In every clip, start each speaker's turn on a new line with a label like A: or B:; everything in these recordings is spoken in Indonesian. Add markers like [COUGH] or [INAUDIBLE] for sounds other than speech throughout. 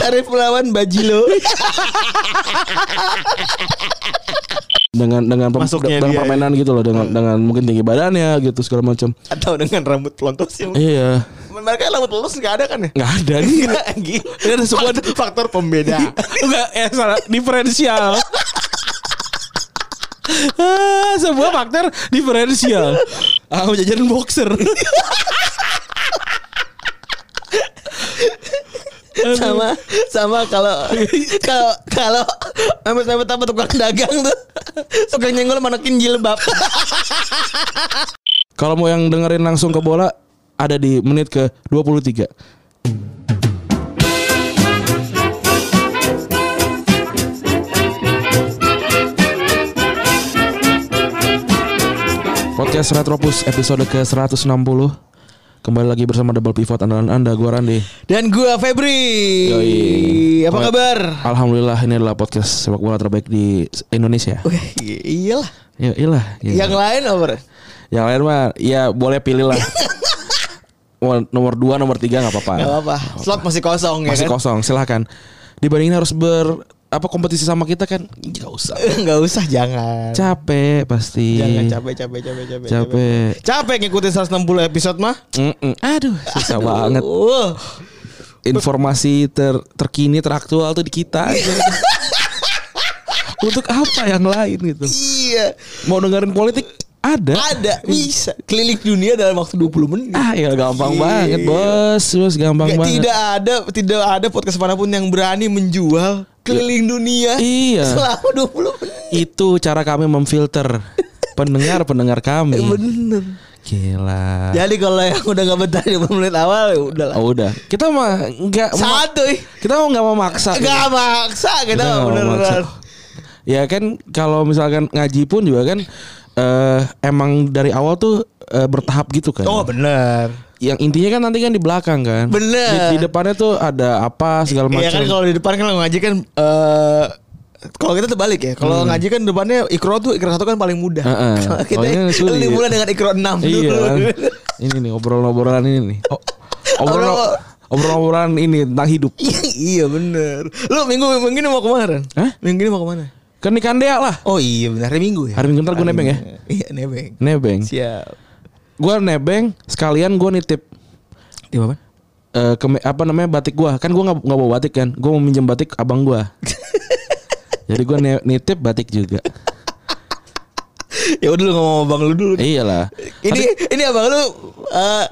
A: Sarif melawan Bajilo.
B: Dengan dengan pem-
A: Masuknya
B: dengan
A: dia,
B: permainan gitu loh dengan dengan mungkin tinggi badannya gitu segala macam.
A: Atau dengan rambut lontos yang
B: Iya.
A: mereka rambut lontos nggak ada kan ya?
B: nggak ada nih.
A: Lagi.
B: Ini ada sebuah
A: Faktor pembeda.
B: enggak eh salah diferensial. Ah, sebuah faktor diferensial. Ah, jajaran boxer.
A: [LAUGHS] sama sama kalau kalau kalau sama sama sama tukang dagang tuh suka nyenggol manakin jilbab.
B: Kalau mau yang dengerin langsung ke bola ada di menit ke 23. Podcast Retropus episode ke-160 Kembali lagi bersama Double Pivot andalan Anda Gua Randi
A: Dan gua Febri.
B: Yoi.
A: Apa
B: Pokoknya-
A: kabar?
B: Alhamdulillah ini adalah podcast sepak bola terbaik di Indonesia
A: Wih, iyalah.
B: Ya iyalah gitu.
A: Yang lain apa? Bro?
B: Yang lain mah ya boleh pilih
A: [LAUGHS]
B: lah Nomor- Nomor 2, nomor 3 gak apa-apa
A: Gak apa-apa. Slot masih kosong
B: Ah. masih
A: ya kan?
B: kosong silahkan dibandingin harus ber apa kompetisi sama kita kan nggak usah
A: Enggak usah jangan.
B: capek pasti
A: Jangan capek capek capek capek.
B: Capek.
A: Capek ngikutin 160 episode mah.
B: Mm-mm. aduh susah banget
A: Uh.
B: informasi ter- terkini teraktual tuh di kita
A: [LAUGHS]
B: untuk apa yang lain gitu
A: Iya.
B: mau dengerin politik ada
A: Ada bisa keliling dunia dalam waktu 20 menit.
B: ah ya gampang
A: Iya.
B: banget bos bos gampang
A: Nggak,
B: banget
A: tidak ada tidak ada podcast manapun yang berani menjual keliling dunia
B: Iya.
A: selama 20 menit.
B: itu cara kami memfilter pendengar pendengar kami
A: Iya, Bener. Ya.
B: gila
A: Jadi kalau yang udah nggak betah di 20 menit awal ya udahlah.
B: Ah. oh udah kita mah nggak
A: Satu ih.
B: kita mau nggak memaksa
A: Gak maksa
B: Ah,
A: kita
B: iya. nggak
A: mah
B: mau memaksa.
A: beneran.
B: ya kan kalau misalkan ngaji pun juga kan eh, emang dari awal tuh eh, bertahap gitu kan
A: Oh bener.
B: yang intinya kan nanti kan di belakang kan di,
A: Bener.
B: di depannya tuh ada apa segala macam
A: Iya kan kalau di depan kan kalau ngaji kan eh kalau kita terbalik ya. Kalau ngaji kan depannya ikro tuh ikro satu kan paling mudah.
B: Hmm. Heeh.
A: [LAUGHS] Kalau kita
B: Kalau ini kan sulit.
A: dimulai dengan ikro 6
B: iya
A: dulu. [LAUGHS]
B: kan ini nih obrolan-obrolan ini nih oh, obrolan
A: Obrol-
B: obrolan ini tentang hidup
A: iya bener. Lu minggu minggu ini mau kemana?
B: Hah?
A: Minggu ini mau kemana?
B: kan ikan dea lah
A: Oh iya benar hari Minggu ya.
B: Hari Minggu ntar gua
A: Hari
B: nebeng ya?
A: Minggu. Iya nebeng.
B: nebeng
A: Siap.
B: gue nebeng sekalian gue nitip
A: Di apa?
B: eh ke apa namanya batik gua kan gua nggak nggak bawa batik kan gua mau minjem batik abang
A: [LAUGHS]
B: gua jadi gua ni- nitip batik juga
A: Ya udah lu ngomong sama abang lu dulu.
B: iyalah
A: Ini ini abang lu eh,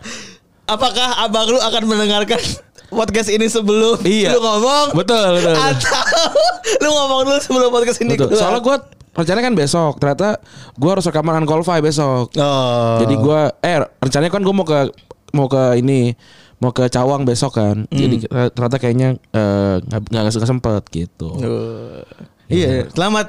A: apakah abang lu akan mendengarkan [LAUGHS] podcast ini sebelum
B: Iya.
A: lu ngomong?
B: betul betul, betul.
A: Atau lu ngomong dulu sebelum podcast ini
B: Betul.
A: keluar?
B: soalnya gua rencananya kan besok ternyata gua harus rekaman Uncle Fi besok
A: Oh.
B: jadi gua eh rencananya kan gua mau ke mau ke ini mau ke Cawang besok kan jadi ter- ternyata kayaknya eh, nggak nggak nggak sempet gitu
A: Uh, iya, selamat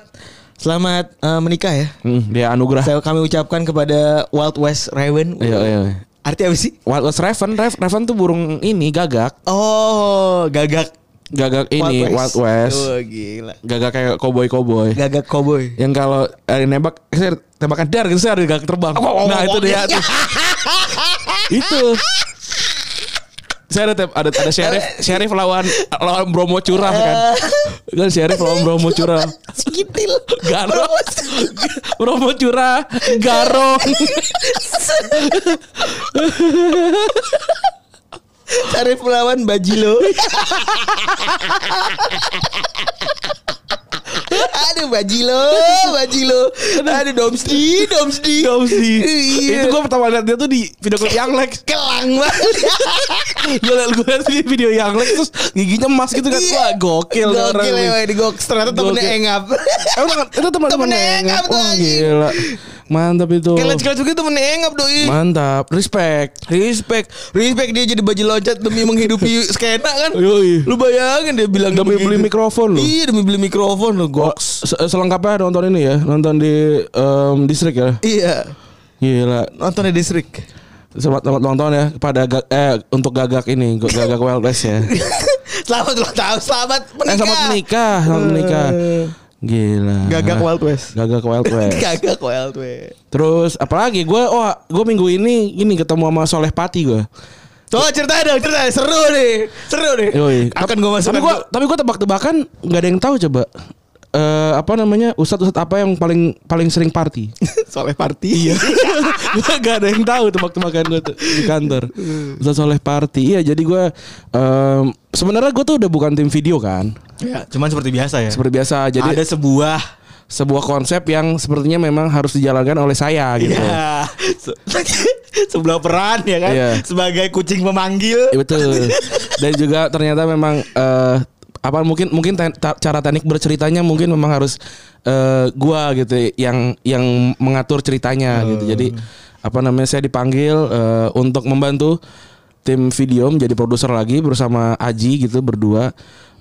A: selamat eh, menikah ya.
B: Hmm, dia anugerah
A: Saya kami ucapkan kepada Wild West Raven.
B: iya iya
A: Artinya apa sih?
B: Wild West Raven, Raven, Raven tuh burung ini gagak,
A: Oh, gagak
B: gagak ini Wild West.
A: Oh, gila.
B: gagak kayak koboi koboi
A: Gagak cowboy.
B: yang kalau eh, nembak saya tembakan dar gitu saya ada gagak terbang nah itu dia [LAUGHS] tuh. itu saya ada tem- ada ada sheriff sheriff lawan lawan bromo curah kan kan sheriff lawan bromo curah
A: Eh, [LAUGHS] Sekitil.
B: garo bromo curah garong
A: Tarif melawan Bajilo. Aduh Bajilo, Bajilo. Aduh Domsdi, Domsdi.
B: Domsdi.
A: Iya.
B: itu gue pertama lihat dia tuh di video klip yang Lex
A: Kelang banget.
B: gue liat gue liat di video yang Lex terus giginya emas gitu kan wah gokil nih orang
A: Iya. Gokil
B: nih.
A: ya, di gok. Ternyata temennya
B: Gokil.
A: engap.
B: Eh, udah kan? itu teman teman
A: Temennya
B: nengap.
A: nengap tuh,
B: Wah,
A: anjing.
B: gila. Mantap itu.
A: Kelas-kelas juga temennya engap doi.
B: Mantap. Respect.
A: Respect, respect dia jadi baju loncat demi menghidupi skena kan.
B: Yoi.
A: Lu bayangin dia bilang
B: Iya. Demi beli
A: begitu.
B: mikrofon lu.
A: Iya demi beli mikrofon lo
B: Oh,
A: gok.
B: se- Selengkapnya nonton ini ya, nonton di em, distrik ya.
A: Iya.
B: Gila.
A: Nonton di [LAUGHS] distrik.
B: Selamat selamat ulang tahun ya kepada ga- eh untuk gagak ini, gagak Wellness ya.
C: Selamat ulang tahun, selamat menikah.
B: Eh, selamat menikah, selamat menikah.
C: Eh.
B: Gila.
C: Gagak Wild West.
B: Gagak
C: [LAUGHS]
B: Wild West.
C: Kagak kok LTW.
B: Terus apalagi gue oh gue minggu ini ini ketemu sama Soleh Pati gue.
C: Coba ceritain dong, ceritain seru nih, seru nih. Akan gue masuk.
B: Tapi gue [LAUGHS] tapi gue tebak-tebakan nggak ada yang tahu coba. Eh apa namanya ustadz-ustadz apa yang paling paling sering party? [LAUGHS]
C: soalnya party. Iya.
B: Gua gak ada yang tahu tebak-tebakan gue tuh di kantor. Ustadz Soleh party. Iya jadi gue em, sebenarnya gue tuh udah bukan tim video kan.
A: Cuman seperti biasa ya.
B: Seperti biasa jadi
A: ada sebuah
B: sebuah konsep yang sepertinya memang harus dijalankan oleh saya gitu.
A: ya [LAUGHS] se- sebelah peran ya kan
B: Iya.
A: sebagai kucing memanggil.
B: Iya betul. Dan juga ternyata memang eh, apa mungkin mungkin te- ta- cara teknik berceritanya mungkin memang harus eh, gua gitu yang yang mengatur ceritanya gitu. Jadi apa namanya saya dipanggil eh, untuk membantu tim video menjadi produser lagi bersama Aji gitu berdua.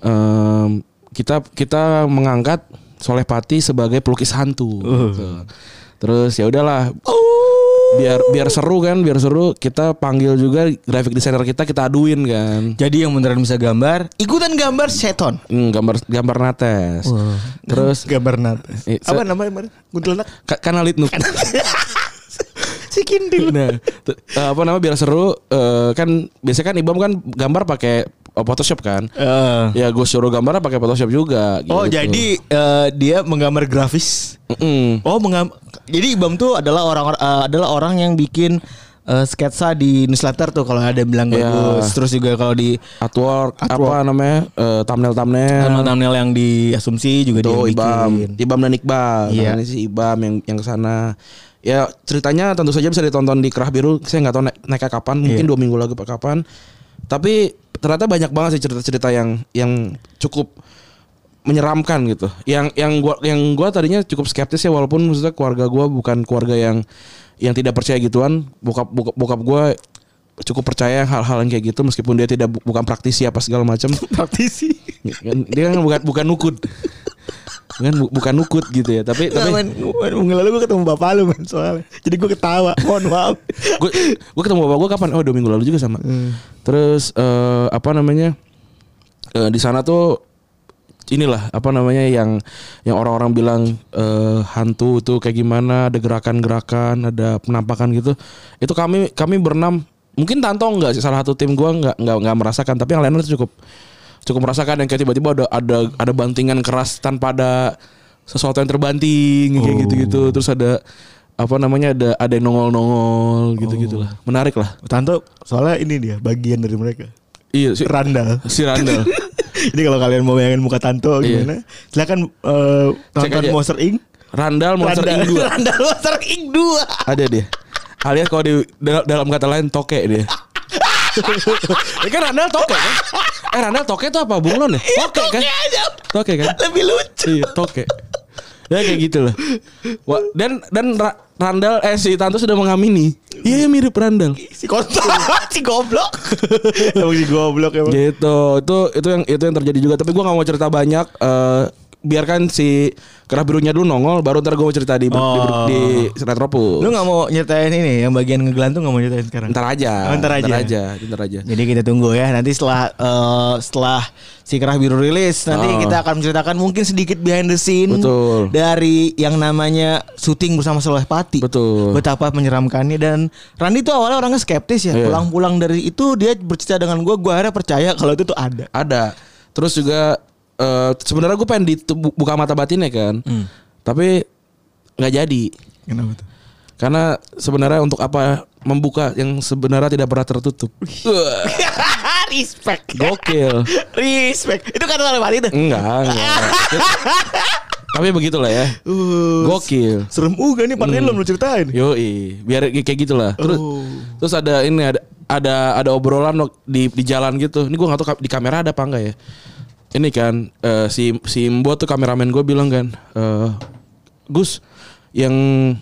B: Em, kita kita mengangkat Soleh Pati sebagai pelukis hantu. gitu. Terus ya udahlah
A: Oh.
B: biar biar seru kan biar seru kita panggil juga graphic designer kita kita aduin kan
A: Jadi yang beneran bisa gambar, ikutan gambar seton.
B: Hmm, gambar gambar nates terus
A: Gambar nat.
B: Eh, se-
A: Apa namanya kemarin? Kuntilanak.
B: ka- kan kanal Litnuk.
A: [LAUGHS] Si Kindil.
B: nah t- [LAUGHS] eh, apa namanya biar seru eh, kan biasanya kan Ibam kan gambar pakai eh, Photoshop kan
A: Eh.
B: ya gue suruh gambarnya pakai Photoshop juga
A: Oh
B: gitu.
A: jadi eh, dia menggambar grafis.
B: Mm-mm.
A: Oh menggambar. Jadi Ibam tuh adalah orang eh, adalah orang yang bikin eh, sketsa di newsletter tuh kalau ada yang bilang
B: Iya.
A: bagus. Terus juga kalau di
B: artwork, apa namanya eh, thumbnail thumbnail
A: thumbnail-thumbnail yang di asumsi juga dia yang
B: Tuh Ibam,
A: bikin.
B: Ibam dan Iqbal.
A: Iya.
B: Namanya sih Ibam yang yang kesana. Ya ceritanya tentu saja bisa ditonton di Kerah Biru. Saya nggak tahu naik, naiknya kapan.
A: Iya.
B: Mungkin dua minggu lagi apa kapan. Tapi ternyata banyak banget sih cerita-cerita yang yang cukup menyeramkan gitu. Yang yang gua yang gua tadinya cukup skeptis ya walaupun maksudnya keluarga gua bukan keluarga yang yang tidak percaya gituan. Bokap bokap, bokap gua cukup percaya hal-hal yang kayak gitu meskipun dia tidak bu- bukan praktisi apa segala macam.
A: Praktisi.
B: Kan dia kan bukan bukan nukut kan bu- bukan nukut gitu ya tapi
A: [LAUGHS] Tapi
B: tapi
A: Nah, minggu lalu gue ketemu bapak lu man soalnya. Jadi gue ketawa. Mohon maaf.
B: gue gue ketemu bapak gue kapan oh dua minggu lalu juga sama
A: Hmm.
B: terus eh, apa namanya Eh, di sana tuh inilah apa namanya yang yang orang-orang bilang eh, hantu tuh kayak gimana ada gerakan-gerakan ada penampakan gitu itu kami kami berenam mungkin Tanto nggak sih salah satu tim gua nggak nggak nggak merasakan tapi yang lainnya tuh cukup cukup merasakan yang kayak tiba-tiba ada ada ada bantingan keras tanpa ada sesuatu yang terbanting kayak gitu-gitu terus ada apa namanya ada ada yang nongol-nongol gitu-gitulah menarik lah
A: Tanto soalnya ini dia bagian dari mereka.
B: iya si,
A: Randall.
B: si Randall
A: [LAUGHS] Jadi kalau kalian mau bayangin muka Tanto
B: Iya.
A: gimana, silakan eh, tonton
B: aja.
A: Monster Inc.
B: Randall Monster
A: Randall- [LAUGHS]
B: Inc. dua.
A: Randall Monster Inc 2.
B: Ada dia. Alias kalau di dalam, dalam kata lain toke
A: [LAUGHS]
B: dia. ya kan Randall toke kan? Eh Randall toke itu apa Bung Lon ya? Toke kan?
A: Iya, aja.
B: Toke kan?
A: Lebih lucu.
B: Iya toke. Ya kayak gitu loh. Wah, dan dan Ra- Randall eh si Tanto sudah mengamini. Iya mirip Randall.
A: Si
B: [LAUGHS]
A: kontol, si goblok. [LAUGHS] emang si goblok emang.
B: Gitu. Itu itu yang itu yang terjadi juga. Tapi gua nggak mau cerita banyak. Eh, biarkan si kerah birunya dulu nongol. Baru ntar gue mau cerita di di,
A: Oh.
B: di, di Retropus.
A: Lu gak mau nyeritain ini yang bagian ngegelantung gak mau nyeritain sekarang?
B: Ntar aja.
A: Oh, ntar aja.
B: Ntar aja. Ntar aja.
A: Jadi kita tunggu ya nanti setelah eh, setelah si kerah biru rilis nanti
B: Oh.
A: kita akan menceritakan mungkin sedikit behind the scene
B: Betul.
A: dari yang namanya syuting bersama Soleh Pati.
B: Betul.
A: Betapa menyeramkannya dan Randi tuh awalnya orangnya skeptis ya.
B: Iya.
A: Pulang-pulang dari itu dia bercerita dengan gue, gue akhirnya percaya kalau itu tuh ada.
B: ada terus juga eh, sebenarnya gue pengen ditu- bu- buka mata batinnya kan
A: Hmm.
B: tapi nggak jadi
A: Kenapa tuh?
B: karena sebenarnya untuk apa membuka yang sebenarnya tidak pernah tertutup Wah,
A: [LAUGHS] Respect.
B: gokil
A: Respect. Itu kan Soleh Pati tuh.
B: enggak
A: [LAUGHS]
B: enggak tapi begitulah ya
A: Uh,
B: gokil Iya.
A: serem juga nih padahal belum lu ceritain. [LAUGHS]
B: Yoi, biar kayak gitulah. Terus terus ada ini ada ada ada obrolan wak- di di jalan gitu. Ini gua nggak tahu ka- di kamera ada apa enggak ya. Ini kan eh, si si Mbo tuh kameramen gue bilang kan, eh, Gus, yang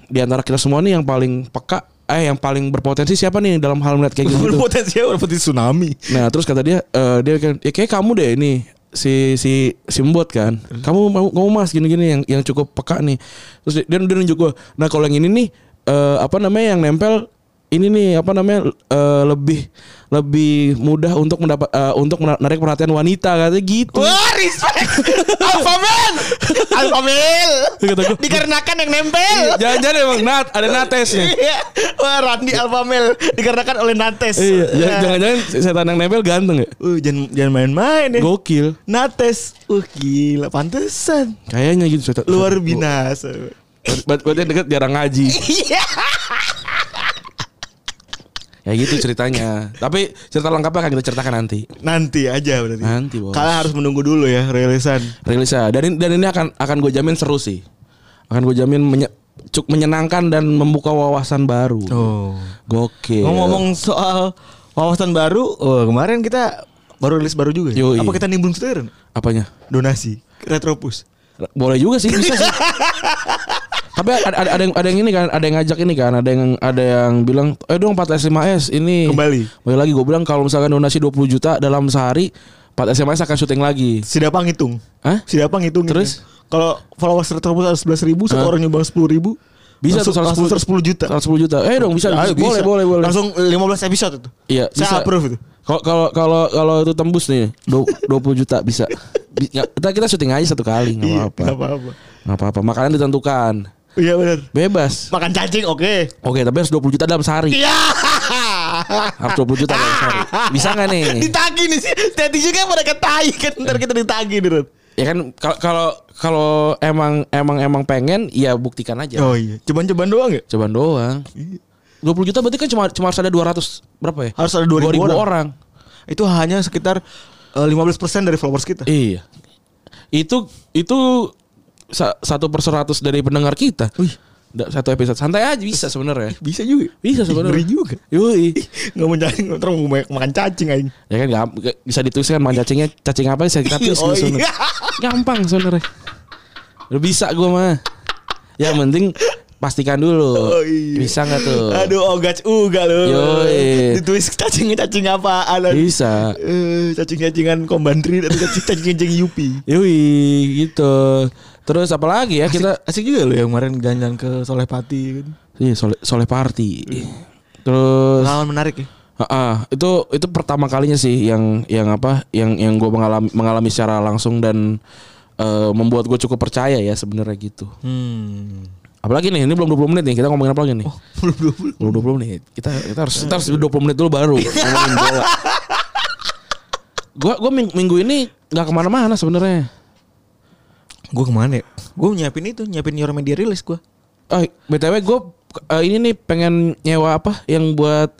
B: di antara kita semua nih yang paling peka eh yang paling berpotensi siapa nih dalam hal melihat kayak gitu.
A: Berpotensi berpotensi tsunami.
B: Nah terus kata dia eh, dia kan ya kayak kamu deh ini si si si Mbot kan kamu mau kamu mas gini gini yang yang cukup peka nih terus dia, dia nunjuk gue nah kalau yang ini nih eh, apa namanya yang nempel ini nih apa namanya eh, lebih lebih mudah untuk mendapat eh, untuk menarik perhatian wanita katanya gitu.
C: Wah, respect.
A: [LAUGHS]
C: Alfamil. Alfamil.
B: Kata gua.
C: Dikarenakan yang nempel.
A: Iya.
B: Jangan-jangan emang Nat, ada Nates nih.
C: Iya. Wah, Randi Alfamil dikarenakan oleh Nates.
B: Iya,
C: Nah.
B: jangan- jangan-jangan setan yang nempel ganteng ya?
C: Uh, jangan jangan main-main
A: Eh.
C: ya.
B: Gokil.
C: Nates. Uh, gila pantesan.
B: Kayaknya gitu setan.
C: Luar binasa.
B: Ber- ber- Berarti deket jarang ngaji.
C: Iya.
B: Ya gitu ceritanya. Tapi cerita lengkapnya akan kita ceritakan nanti.
C: Nanti aja berarti.
B: Nanti, Bos.
C: Kalian harus menunggu dulu ya rilisan.
B: Rilisnya. Dan ini, dan ini akan akan gue jamin seru sih. Akan gue jamin menye- cuk menyenangkan dan membuka wawasan baru.
A: Oh.
B: Gokil.
A: Ngomong-ngomong soal wawasan baru, oh, kemarin kita baru rilis baru juga. ya?
B: Yoi.
A: Apa kita nimbun setoran?
B: apanya?
A: Donasi, retropus.
B: Boleh juga sih, bisa
A: [LAUGHS]
B: sih. Tapi ada, ada, ada yang ada yang ini kan, ada yang ngajak ini kan, ada yang ada yang bilang, "Eh dong 4 SMS ini."
A: Kembali.
B: Kembali lagi gue bilang kalau misalkan donasi 20 juta dalam sehari 4 SMS akan syuting lagi.
A: Sidapa ngitung.
B: Hah?
A: Sidapa ngitung.
B: Terus?
A: gitu ya. Kalau followers retropus ada 11 ribu, satu
B: Hah?
A: orang nyumbang 10 ribu.
B: Bisa
A: langsung,
B: tuh 110
A: langsung 110 juta.
B: 110 juta. Eh dong bisa, bisa. boleh
A: Ayo, bisa.
B: boleh boleh.
A: Langsung 15 episode itu.
B: Iya,
A: Saya
B: bisa.
A: approve itu.
B: Kalau kalau kalau kalau itu tembus nih [LAUGHS] du- 20 juta bisa. Bi- nggak- kita kita syuting aja satu kali
A: Iya,
B: nggak
A: nggak
B: apa-apa.
A: apa-apa.
B: Nggak apa-apa. Makanan ditentukan.
A: Iya benar.
B: Bebas.
A: Makan cacing oke.
B: Oke, tapi harus 20 juta dalam sehari.
A: Iya.
B: Harus 20 juta dalam
A: [LAUGHS]
B: sehari. Bisa nggak nih?
A: ditagi nih sih. Tadi juga pada ketai kan ntar kita ditagi nih Ron.
B: Ya kan kalau kalau kalau emang emang emang pengen ya buktikan aja.
A: Oh iya. Cobaan-cobaan doang ya?
B: Cobaan doang. 20 juta berarti kan cuma cuma harus ada 200 berapa ya?
A: Harus ada 2000
B: 2000
A: orang.
B: orang.
A: Itu hanya sekitar eh, 15% dari followers kita.
B: Iya. Itu itu sa- satu per seratus dari pendengar kita.
A: Wih.
B: Da- Satu episode santai aja bisa sebenarnya.
A: Bisa juga.
B: Bisa sebenarnya.
A: Ngeri juga.
B: Yoi.
A: Enggak mau cacing, ntar mau banyak makan cacing aja.
B: Ya kan gak, bisa ditulis kan makan cacingnya cacing apa sih kita tulis
A: Oh,
B: di sana.
A: iya.
B: Gampang sebenarnya. Udah bisa gua mah. Ya, Yang penting pastikan dulu.
A: Oh, iya.
B: Bisa nggak tuh?
A: Aduh, ogaj uga lu.
B: Yoi.
A: Ditulis cacingnya cacing apaan? Ron?
B: Bisa.
A: Eh, cacing-cacingan kombandri atau cacing-cacing yupi.
B: Yoi gitu. Terus apa lagi ya kita
A: Asik juga loh yang kemarin jalan-jalan ke Solepati kan.
B: Iya, soleh, soleh party. Terus
A: Pengalaman menarik ya.
B: Ah, itu itu pertama kalinya sih yang yang apa yang yang gue mengalami mengalami secara langsung dan eh, membuat gue cukup percaya ya sebenarnya gitu.
A: Hmm.
B: Apalagi nih ini belum 20 menit nih kita ngomongin apa lagi nih?
A: Belum
B: Belum 20 menit. Kita kita harus kita harus 20 menit dulu baru ngomongin bola. Gue gue minggu ini nggak kemana-mana sebenarnya.
A: Gue kemana ya? Gue nyiapin itu, nyiapin your media release gue.
B: Oh, btw gue eh, ini nih pengen nyewa apa yang buat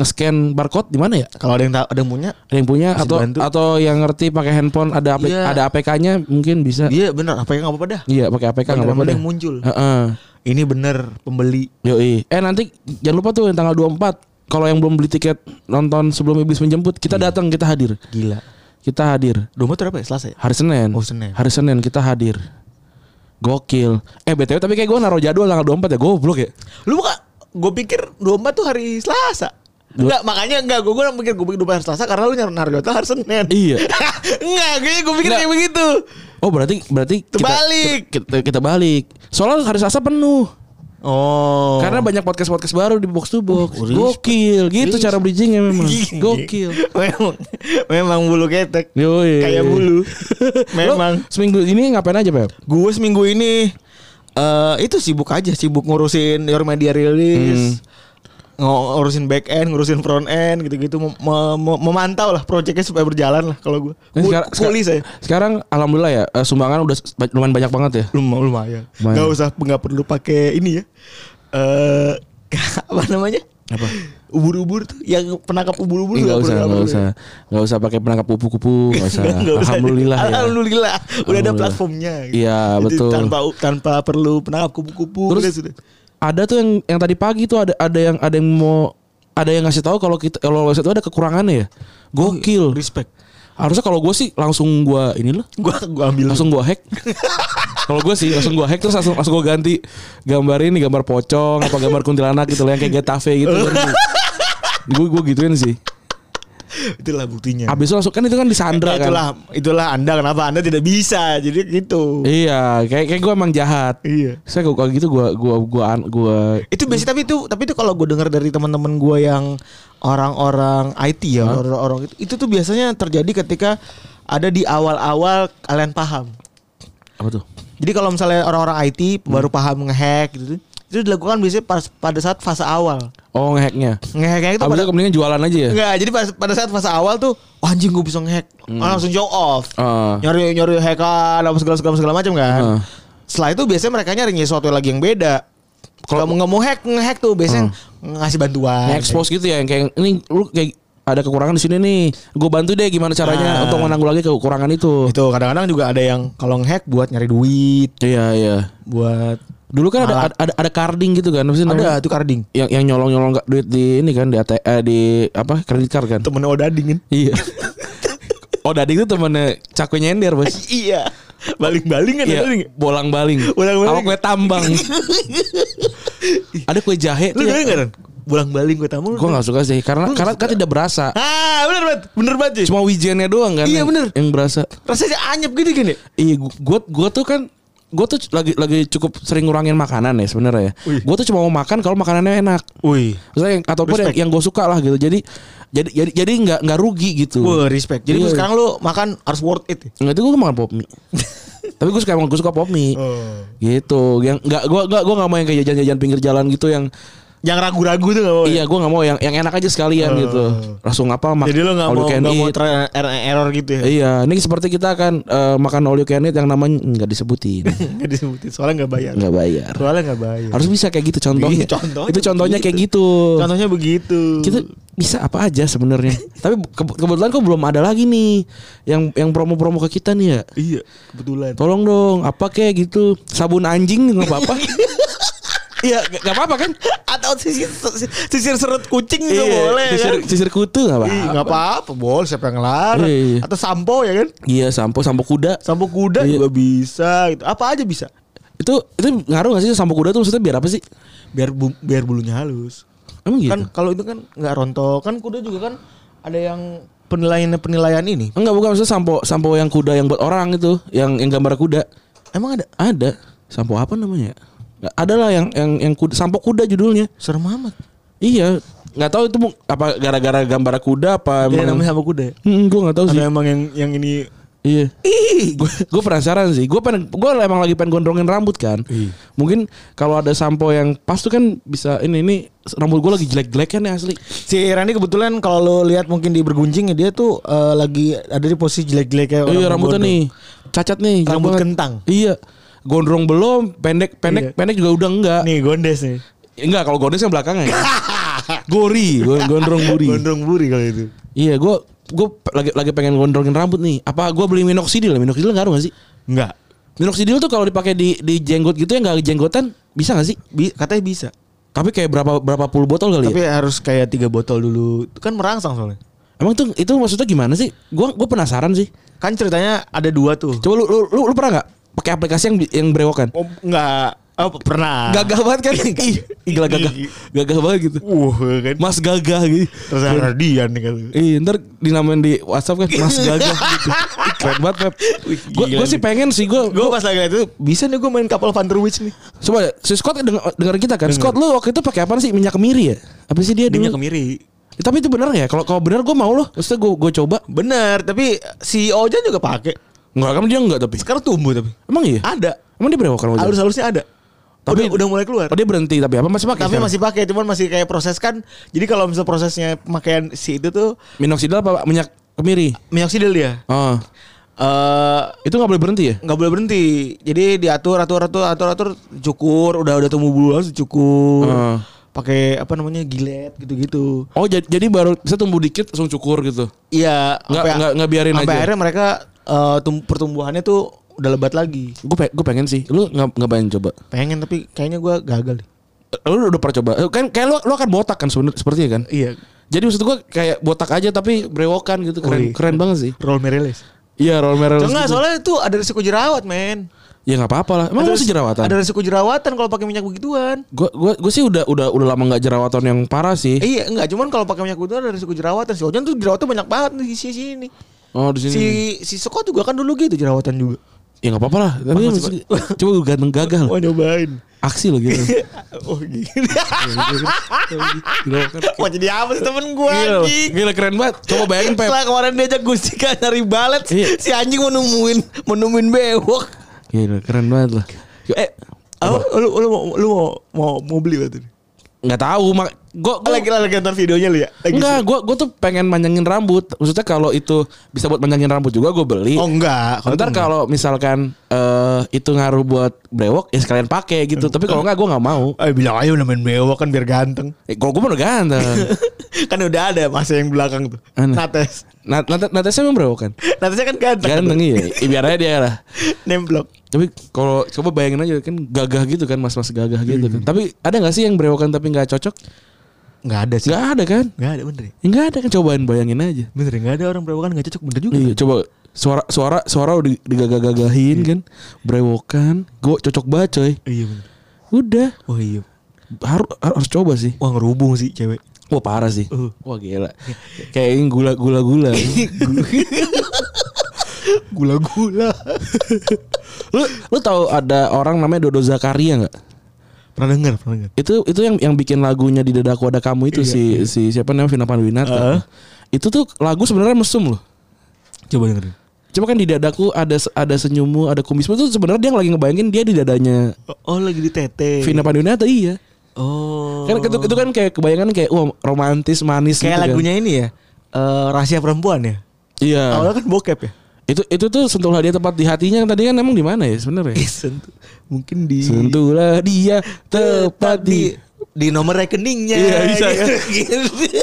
B: nge-scan barcode di mana ya?
A: Kalau ada yang tahu, ada yang punya,
B: Ada yang punya
A: Bisa
B: atau
A: dibantu.
B: atau yang ngerti pakai handphone ada aplik-
A: Iya.
B: ada APK-nya mungkin bisa.
A: dia Iya, bener apa yang apa dah.
B: Iya, pakai APK enggak
A: Beneran
B: apa-apa
A: ada
B: deh.
A: yang muncul.
B: Heeh.
A: Ini bener pembeli.
B: Yoi. Eh nanti jangan lupa tuh yang tanggal 24 kalau yang belum beli tiket nonton sebelum iblis menjemput,
A: Iya.
B: kita datang, kita hadir.
A: Gila.
B: Kita hadir.
A: Domba tuh apa ya? Selasa ya?
B: Hari Senin.
A: Oh, Senin.
B: Hari Senin kita hadir. Gokil. Eh BTW tapi kayak gue naruh jadwal tanggal 24 ya, goblok ya.
A: Lu buka gue pikir domba tuh hari Selasa. Enggak, makaknya enggak gue gue pikir gue pikir domba hari Selasa karena lu nyari naruh jatah hari Senin.
B: Iya.
A: [LAUGHS] enggak, gue gue pikir
B: Enggak.
A: kayak begitu.
B: Oh, berarti berarti kita
A: Terbalik.
B: kita, kita, kita balik. Soalnya hari Selasa penuh.
A: Oh.
B: Karena banyak podcast-podcast baru di box to box.
A: Oh, Iya. respect.
B: Gokil. Gitu cara bridgingnya
A: [LAUGHS]
B: memang. Gokil.
A: memang memang bulu ketek.
B: Yoi.
A: Kayak
B: [LAUGHS]
A: bulu. memang.
B: Lo seminggu ini ngapain aja, Pep?
A: Gue seminggu ini eh itu sibuk aja, sibuk ngurusin your media release.
B: Hmm.
A: ngo- Ngurusin back end, ngurusin front end gitu-gitu Mem- mem- memantau lah proyeknya supaya berjalan lah kalau gue.
B: Nah,
A: Ku-
B: sekarang-
A: Kuli saya.
B: Sekarang alhamdulillah ya eh, sumbangan udah s- ba- lumayan banyak banget ya.
A: Lum- lumayan.
B: Lumayan.
A: Gak usah nggak perlu pakai ini ya. Eh [LAUGHS] apa namanya? Apa? Ubur-ubur tuh yang penangkap ubur-ubur
B: Enggak
A: nggak
B: usah,
A: perlu-
B: enggak
A: perlu. [LAUGHS]
B: usah. Enggak usah pakai penangkap kupu-kupu, enggak usah.
A: Nggak usah.
B: Alhamdulillah ya.
A: Alhamdulillah. Udah ada
B: Alhamdulillah.
A: platformnya. gitu.
B: Iya,
A: Jadi
B: betul.
A: Tanpa tanpa perlu penangkap kupu-kupu.
B: Terus
A: udah sudah.
B: ada tuh yang yang tadi pagi tuh ada ada yang ada yang mau ada yang ngasih tahu kalau kita kalau website itu ada kekurangannya ya. Gokil.
A: respect.
B: Harusnya kalau gue sih langsung gue ini loh.
A: Gua gua ambil
B: Langsung gue hack. kalau gue sih langsung gue hack terus langsung langsung gue ganti gambar ini gambar kan. pocong apa gambar kuntilanak gitu loh yang kayak Getafe gitu. gue gue gituin sih.
A: Itulah buktinya.
B: Abis itu langsung kan itu kan di Sandra kan.
A: Iya. itulah itulah Anda kenapa Anda tidak bisa. Jadi gitu.
B: Iya, kayak kayak gue emang jahat.
A: Iya.
B: Saya gua- kalau gitu gue gua gua an- gua
A: Itu biasa tapi itu tapi itu kalau gue dengar dari teman-teman gue yang orang-orang IT ya, orang-orang itu itu tuh biasanya terjadi ketika ada di awal-awal kalian paham.
B: apa tuh?
A: Jadi kalau misalnya orang-orang
B: Hmm.
A: IT baru paham ngehack gitu itu dilakukan biasanya pas, pada saat fase awal.
B: Oh ngehacknya.
A: Ngehack itu
B: Abis
A: pada
B: itu kemudian jualan aja ya.
A: Enggak, jadi pas, pada saat fase awal tuh "Wah, anjing gue bisa ngehack. Ah, Langsung show off.
B: Hmm. Ah.
A: Nyari nyari hackan apa segala segala segala macam kan.
B: Ah.
A: Setelah itu biasanya mereka nyari sesuatu lagi yang beda. Kalau mau nggak mau hack ngehack tuh biasanya
B: Ah.
A: ngasih bantuan.
B: Nge-expose gitu ya yang kayak ini lu kayak ada kekurangan di sini nih. Gue bantu deh gimana caranya
A: Ah.
B: untuk menanggulangi kekurangan itu.
A: Itu kadang-kadang juga ada yang kalau ngehack buat nyari duit,
B: Iya iya.
A: buat
B: Dulu kan ada ada,
A: Alat.
B: ada, ada carding gitu kan. Apa sih namanya?
A: ada tuh karding.
B: yang yang nyolong nyolong duit di ini kan di AT, eh, di apa kredit card kan?
A: Temen Odading kan.
B: [LAUGHS] Iya. oh Dading itu temennya Cakwe Nyender bos.
A: iya. Baling-baling kan
B: Iya,
A: Odading.
B: bolang baling.
A: Bolang-baling.
B: Sama kue [LAUGHS] tambang. Ada kue jahe
A: Lu
B: tuh.
A: dengerin nggak, Ren? Bulang-baling gue tamu.
B: Gue Iya. nggak suka sih karena karena kan tidak berasa.
A: Ah, bener banget. Bener banget. Ji.
B: Cuma wijennya doang kan.
A: Iya,
B: yang-
A: bener.
B: Yang berasa.
A: Rasanya anyep gitu gini.
B: Iya, gue gue tuh kan gue tuh lagi lagi cukup sering ngurangin makanan ya sebenarnya ya.
A: Wih.
B: Gue tuh cuma mau makan kalau makanannya enak.
A: Wih.
B: Maksudnya yang, ataupun yang,
A: Respect.
B: yang gue suka lah gitu. Jadi jadi jadi jadi nggak nggak rugi gitu.
A: Wah respect. Jadi
B: Iya.
A: lu sekarang lu makan harus worth it. ya?
B: Nggak itu gue makan
A: [LAUGHS]
B: pop mie. Tapi gue suka emang gue suka pop mie.
A: Oh.
B: Gitu. Yang nggak gue nggak gue nggak mau yang kayak jajan-jajan pinggir jalan gitu yang
A: Yang ragu-ragu tuh gak mau. ya?
B: iya gue nggak mau yang yang enak aja sekalian gitu. Langsung apa mak-
A: Oh. Jadi lu gak
B: all you
A: mau
B: can
A: gak mau
B: eat.
A: ter- er- error gitu [LAUGHS] ya.
B: Iya, ini seperti kita akan eh, makan all you can eat yang namanya nggak disebutin,
A: [LAUGHS] Gak disebutin soalnya gak bayar.
B: nggak bayar.
A: Soalnya gak bayar.
B: Harus bisa kayak gitu contohnya.
A: Iya, contohnya
B: itu contohnya kayak gitu.
A: Contohnya begitu.
B: Kita bisa apa aja sebenarnya. Tapi ke- kebetulan kok belum ada lagi nih yang yang promo-promo ke kita nih ya.
A: Iya, kebetulan.
B: Tolong dong, apa kayak gitu sabun anjing nggak
A: [LAUGHS]
B: apa-apa. Iya, nggak nggak apa-apa kan?
A: Atau sisir, sisir serut kucing juga
B: Iya,
A: boleh
B: sisir,
A: kan.
B: sisir kutu nggak
A: Ih,
B: apa-apa.
A: Gak apa-apa, boleh siapa yang ngelarang.
B: Iya.
A: Atau sampo ya kan.
B: Iya, sampo sampo kuda.
A: Sampo kuda
B: Iya.
A: juga bisa gitu. Apa aja bisa.
B: Itu itu ngaruh nggak sih sampo kuda tuh maksudnya biar apa sih?
A: Biar bu- biar bulunya halus.
B: Emang gitu.
A: Kan kalau itu kan nggak rontok. Kan kuda juga kan ada yang penilaian-penilaian ini.
B: Enggak bukan maksudnya sampo sampo yang kuda yang buat orang itu, yang yang gambar kuda.
A: Emang ada?
B: Ada sampo apa namanya? Nggak, Ada lah yang yang yang kuda, sampo kuda judulnya.
A: Serem amat.
B: Iya, nggak tahu itu mu- apa gara-gara gambar kuda apa
A: Dia
B: emang.
A: namanya sama kuda ya?
B: Hmm, gue nggak tahu sih.
A: Ada emang yang yang ini
B: Iya. Gue penasaran sih. Gue pengen, gue emang lagi pengen gondrongin rambut kan.
A: Iya.
B: Mungkin kalau ada sampo yang pas tuh kan bisa ini ini rambut gue lagi jelek-jelek kan ya asli.
A: si Rani kebetulan kalau lu lihat mungkin di bergunjing ya, dia tuh eh, lagi ada di posisi jelek-jeleknya
B: iya rambutnya
A: berbodoh.
B: nih cacat nih. jelek
A: Rambut
B: banget.
A: kentang.
B: Iya. Gondrong belum, pendek pendek
A: Iya.
B: pendek juga udah enggak.
A: Nih gondes nih.
B: Enggak kalau gondes yang
A: [LAUGHS]
B: belakangnya. ya. Gori, gon- gondrong buri.
A: Ah. Gondrong buri kalau itu.
B: Iya, gue gue lagi lagi pengen gondrongin rambut nih. Apa gue beli minoxidil? ya? Minoxidil ngaruh gak sih?
A: Enggak.
B: Minoxidil tuh kalau dipakai di di jenggot gitu yang gak jenggotan bisa gak sih?
A: Bi- katanya bisa. Iya.
B: Tapi kayak berapa berapa puluh botol kali
A: Tapi
B: ya?
A: harus kayak tiga botol dulu. Itu kan merangsang soalnya.
B: Emang tuh itu maksudnya gimana sih? Gua gua penasaran sih.
A: Kan ceritanya ada dua tuh.
B: Coba lu lu lu, lu pernah nggak pakai aplikasi yang yang berewokan?
A: Oh, enggak. Oh, pernah.
B: Gagah banget kan? Ih, gila gagah. Gagah banget gitu.
A: Uh, kan.
B: Mas gagah gitu.
A: Terus ada Dian nih kalau.
B: Ih, ntar dinamain di WhatsApp kan Mas Gagah gitu. Ih, Keren banget, Pep. Gua,
A: gila
B: gua sih
A: nih.
B: pengen sih gua,
A: Gue
B: gua-
A: pas lagi liat itu bisa nih gue main kapal Van der Witch nih.
B: Coba si Scott denger, dengerin kita kan. Scott lu waktu itu pakai apa sih? Minyak kemiri ya? Apa sih dia
A: Dia
B: dulu?
A: kemiri.
B: Eh, Tapi itu benar nggak ya? Kalau kalau benar gua mau loh. Maksudnya gua gua coba.
A: Bener, tapi si Ojan juga pakai.
B: Enggak kan dia enggak tapi.
A: Sekarang tumbuh tapi.
B: Emang iya?
A: Ada.
B: Emang dia berewokan waktu itu?
A: Alus-alusnya ada.
B: Tapi-
A: Tapi udah, udah mulai keluar.
B: Oh dia berhenti tapi apa masih pakai?
A: Tapi
B: sekarang?
A: masih pakai, cuman masih kayak proses kan. Jadi kalau misal prosesnya pemakaian si itu tuh
B: minoxidil apa minyak kemiri?
A: minoksidil dia.
B: Oh.
A: Eh
B: Itu nggak boleh berhenti ya?
A: nggak boleh berhenti. Jadi diatur atur atur atur atur cukur, udah udah tumbuh bulu harus cukur.
B: Heeh.
A: Pakai apa namanya? gilet gitu-gitu.
B: Oh jadi, jadi baru bisa tumbuh dikit langsung cukur gitu.
A: Iya,
B: Nggak-
A: sampai-
B: nggak- nggak biarin
A: sampai
B: aja.
A: akhirnya mereka eh, tum- pertumbuhannya tuh udah lebat lagi.
B: Gue pe gue pengen sih. Lu nggak nggak pengen coba?
A: Pengen tapi kayaknya gua gagal. deh.
B: Eh, Lu udah pernah coba? Eh, Kan kayak lu lu akan botak kan sebenarnya sepertinya kan?
A: Iya,
B: Jadi maksud gue kayak botak aja tapi berewokan gitu keren
A: Wih.
B: keren banget sih.
A: roll merilis.
B: Iya roll merah.
A: gitu. Enggak, soalnya itu ada risiko jerawat, men.
B: Ya nggak apa-apa lah. Emang lu masih jerawatan?
A: Ada resiko jerawatan kalau pakai minyak begituan.
B: Gua, gua, gua sih udah udah udah lama nggak jerawatan yang parah sih.
A: Eh, iya, enggak cuman kalau pakai minyak begituan ada resiko jerawatan. Si Ojan tuh jerawatan banyak banget di sisi sini.
B: Oh di sini.
A: Si si Seko juga kan dulu gitu jerawatan juga.
B: Ya nggak apa-apa lah. Tapi masih- coba gue ganteng gagah lah.
A: Oh nyobain.
B: Aksi lo gitu.
A: [LAUGHS] Oh gini.
B: Gila, kan.
A: Wah jadi apa sih temen gue
B: Gila,
A: anjing?
B: gila keren banget. Coba bayangin Pep.
C: Setelah kemarin diajak Gustika nyari balet,
B: Iya.
C: si anjing menemuin menemuin bewok.
B: Gila Iya, keren banget lah. Yo, Eh
A: Apa? Lu, lu, mau, lu mau, mau, mau beli berarti?
B: nggak tahu mak. Gue
A: Oh, lagi lagi nonton videonya lu ya? Lagi
B: Enggak, gue gue tuh pengen manjangin rambut. Maksudnya kalau itu bisa buat manjangin rambut juga gue beli.
A: Oh enggak.
B: Ntar kalau misalkan eh itu ngaruh buat brewok ya sekalian pakai gitu. Tapi kalau enggak gue nggak mau.
A: Eh bilang aja udah main bewok kan biar [LAUGHS] ganteng.
B: Eh, kalau gue mau udah ganteng.
A: kan udah ada masa yang belakang tuh.
B: Mana?
A: Nates. [LAUGHS]
B: Nah, nanti nanti saya emang brewok kan.
A: Natesnya kan ganteng.
B: Ganteng
A: tuh.
B: iya. Ya, biar aja dia lah.
A: Nemblok.
B: Tapi kalau coba bayangin aja kan gagah gitu kan mas-mas gagah gitu kan. Tapi ada nggak sih yang brewokan tapi nggak cocok?
A: Enggak ada
B: Nggak ada kan?
A: Enggak ada bener ya?
B: Ya, Nggak ada kan cobain bayangin aja.
A: Bener enggak ada orang berewokan enggak cocok bener Iya. juga.
B: Iya, coba suara suara suara udah digagah-gagahin kan, brewokan, gue cocok banget coy.
A: Iya bener.
B: Udah,
A: Wah iya.
B: harus harus coba sih.
A: Wah ngerubung sih [LAUGHS] cewek.
B: Wah parah sih.
A: Uh.
B: Wah gila. Kayak ini
A: [LAUGHS]
B: gula-gula-gula.
A: Gula-gula.
B: lu lu tahu ada orang namanya Dodo Zakaria nggak?
A: pernah denger, pernah denger.
B: Itu itu yang yang bikin lagunya di dadaku ada kamu itu si si siapa namanya Vina Panduwinata.
A: Iya. Uh.
B: Itu tuh lagu sebenarnya mesum loh.
A: Coba dengerin.
B: Cuma kan di dadaku ada ada senyummu, ada kumismu itu sebenarnya dia lagi ngebayangin dia di dadanya
A: Oh, lagi di tete.
B: Vina Panduwinata iya.
A: Oh.
B: Kan itu, itu kan kayak kebayangan kayak wah romantis manis
A: kayak
B: gitu kan.
A: lagunya ini ya. Eh rahasia perempuan ya.
B: Iya.
A: Awalnya kan bokep ya. [LAUGHS]
B: Itu itu tuh sentuhlah dia tepat di hatinya tadi kan emang di mana ya sebenarnya?
A: Sentuh. Mungkin di
B: sentuhlah dia tepat di
A: di nomor rekeningnya.
B: Iya, bisa,
A: [LAUGHS]
B: ya.
A: Gitu.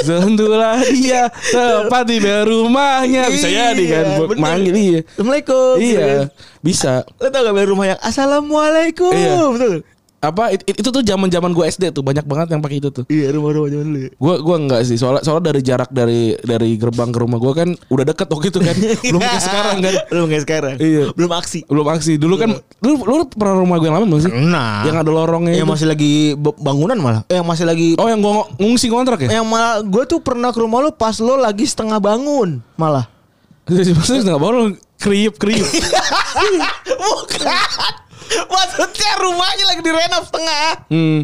B: sentuhlah dia tepat di bel rumahnya bisa jadi kan
A: Iya,
B: buat
A: bener.
B: manggil iya.
A: Assalamualaikum.
B: Iya,
A: gitu kan.
B: bisa.
A: Lo tau gak beli rumah yang Assalamualaikum
B: Iya.
A: Betul
B: Apa it- it- itu tuh zaman-zaman gue SD tuh banyak banget yang pakai itu tuh.
A: Iya rumah-rumah zaman dulu ya
B: Gue gua enggak sih soalnya soalnya dari jarak dari dari gerbang ke rumah gue kan udah deket waktu
A: [LAUGHS]
B: itu kan. Belum
A: Iya.
B: kayak sekarang kan.
A: Belum kayak sekarang
B: Iya.
A: Belum aksi
B: Belum aksi. Dulu kan
A: Iya.
B: lu lu pernah rumah gue yang lama belum sih?
A: Nah
B: Yang ada lorongnya.
A: Yang
B: itu.
A: masih lagi b- bangunan malah Eh, Yang masih lagi
B: Oh yang gua ng- ngungsi kontrak ya? [LAUGHS]
A: Yang malah Gue tuh pernah ke rumah lo Pas lo lagi setengah bangun Malah
B: Maksudnya nggak baru kriup kriup.
A: [LAUGHS] Bukan Maksudnya rumahnya lagi direnov setengah
B: Hmm.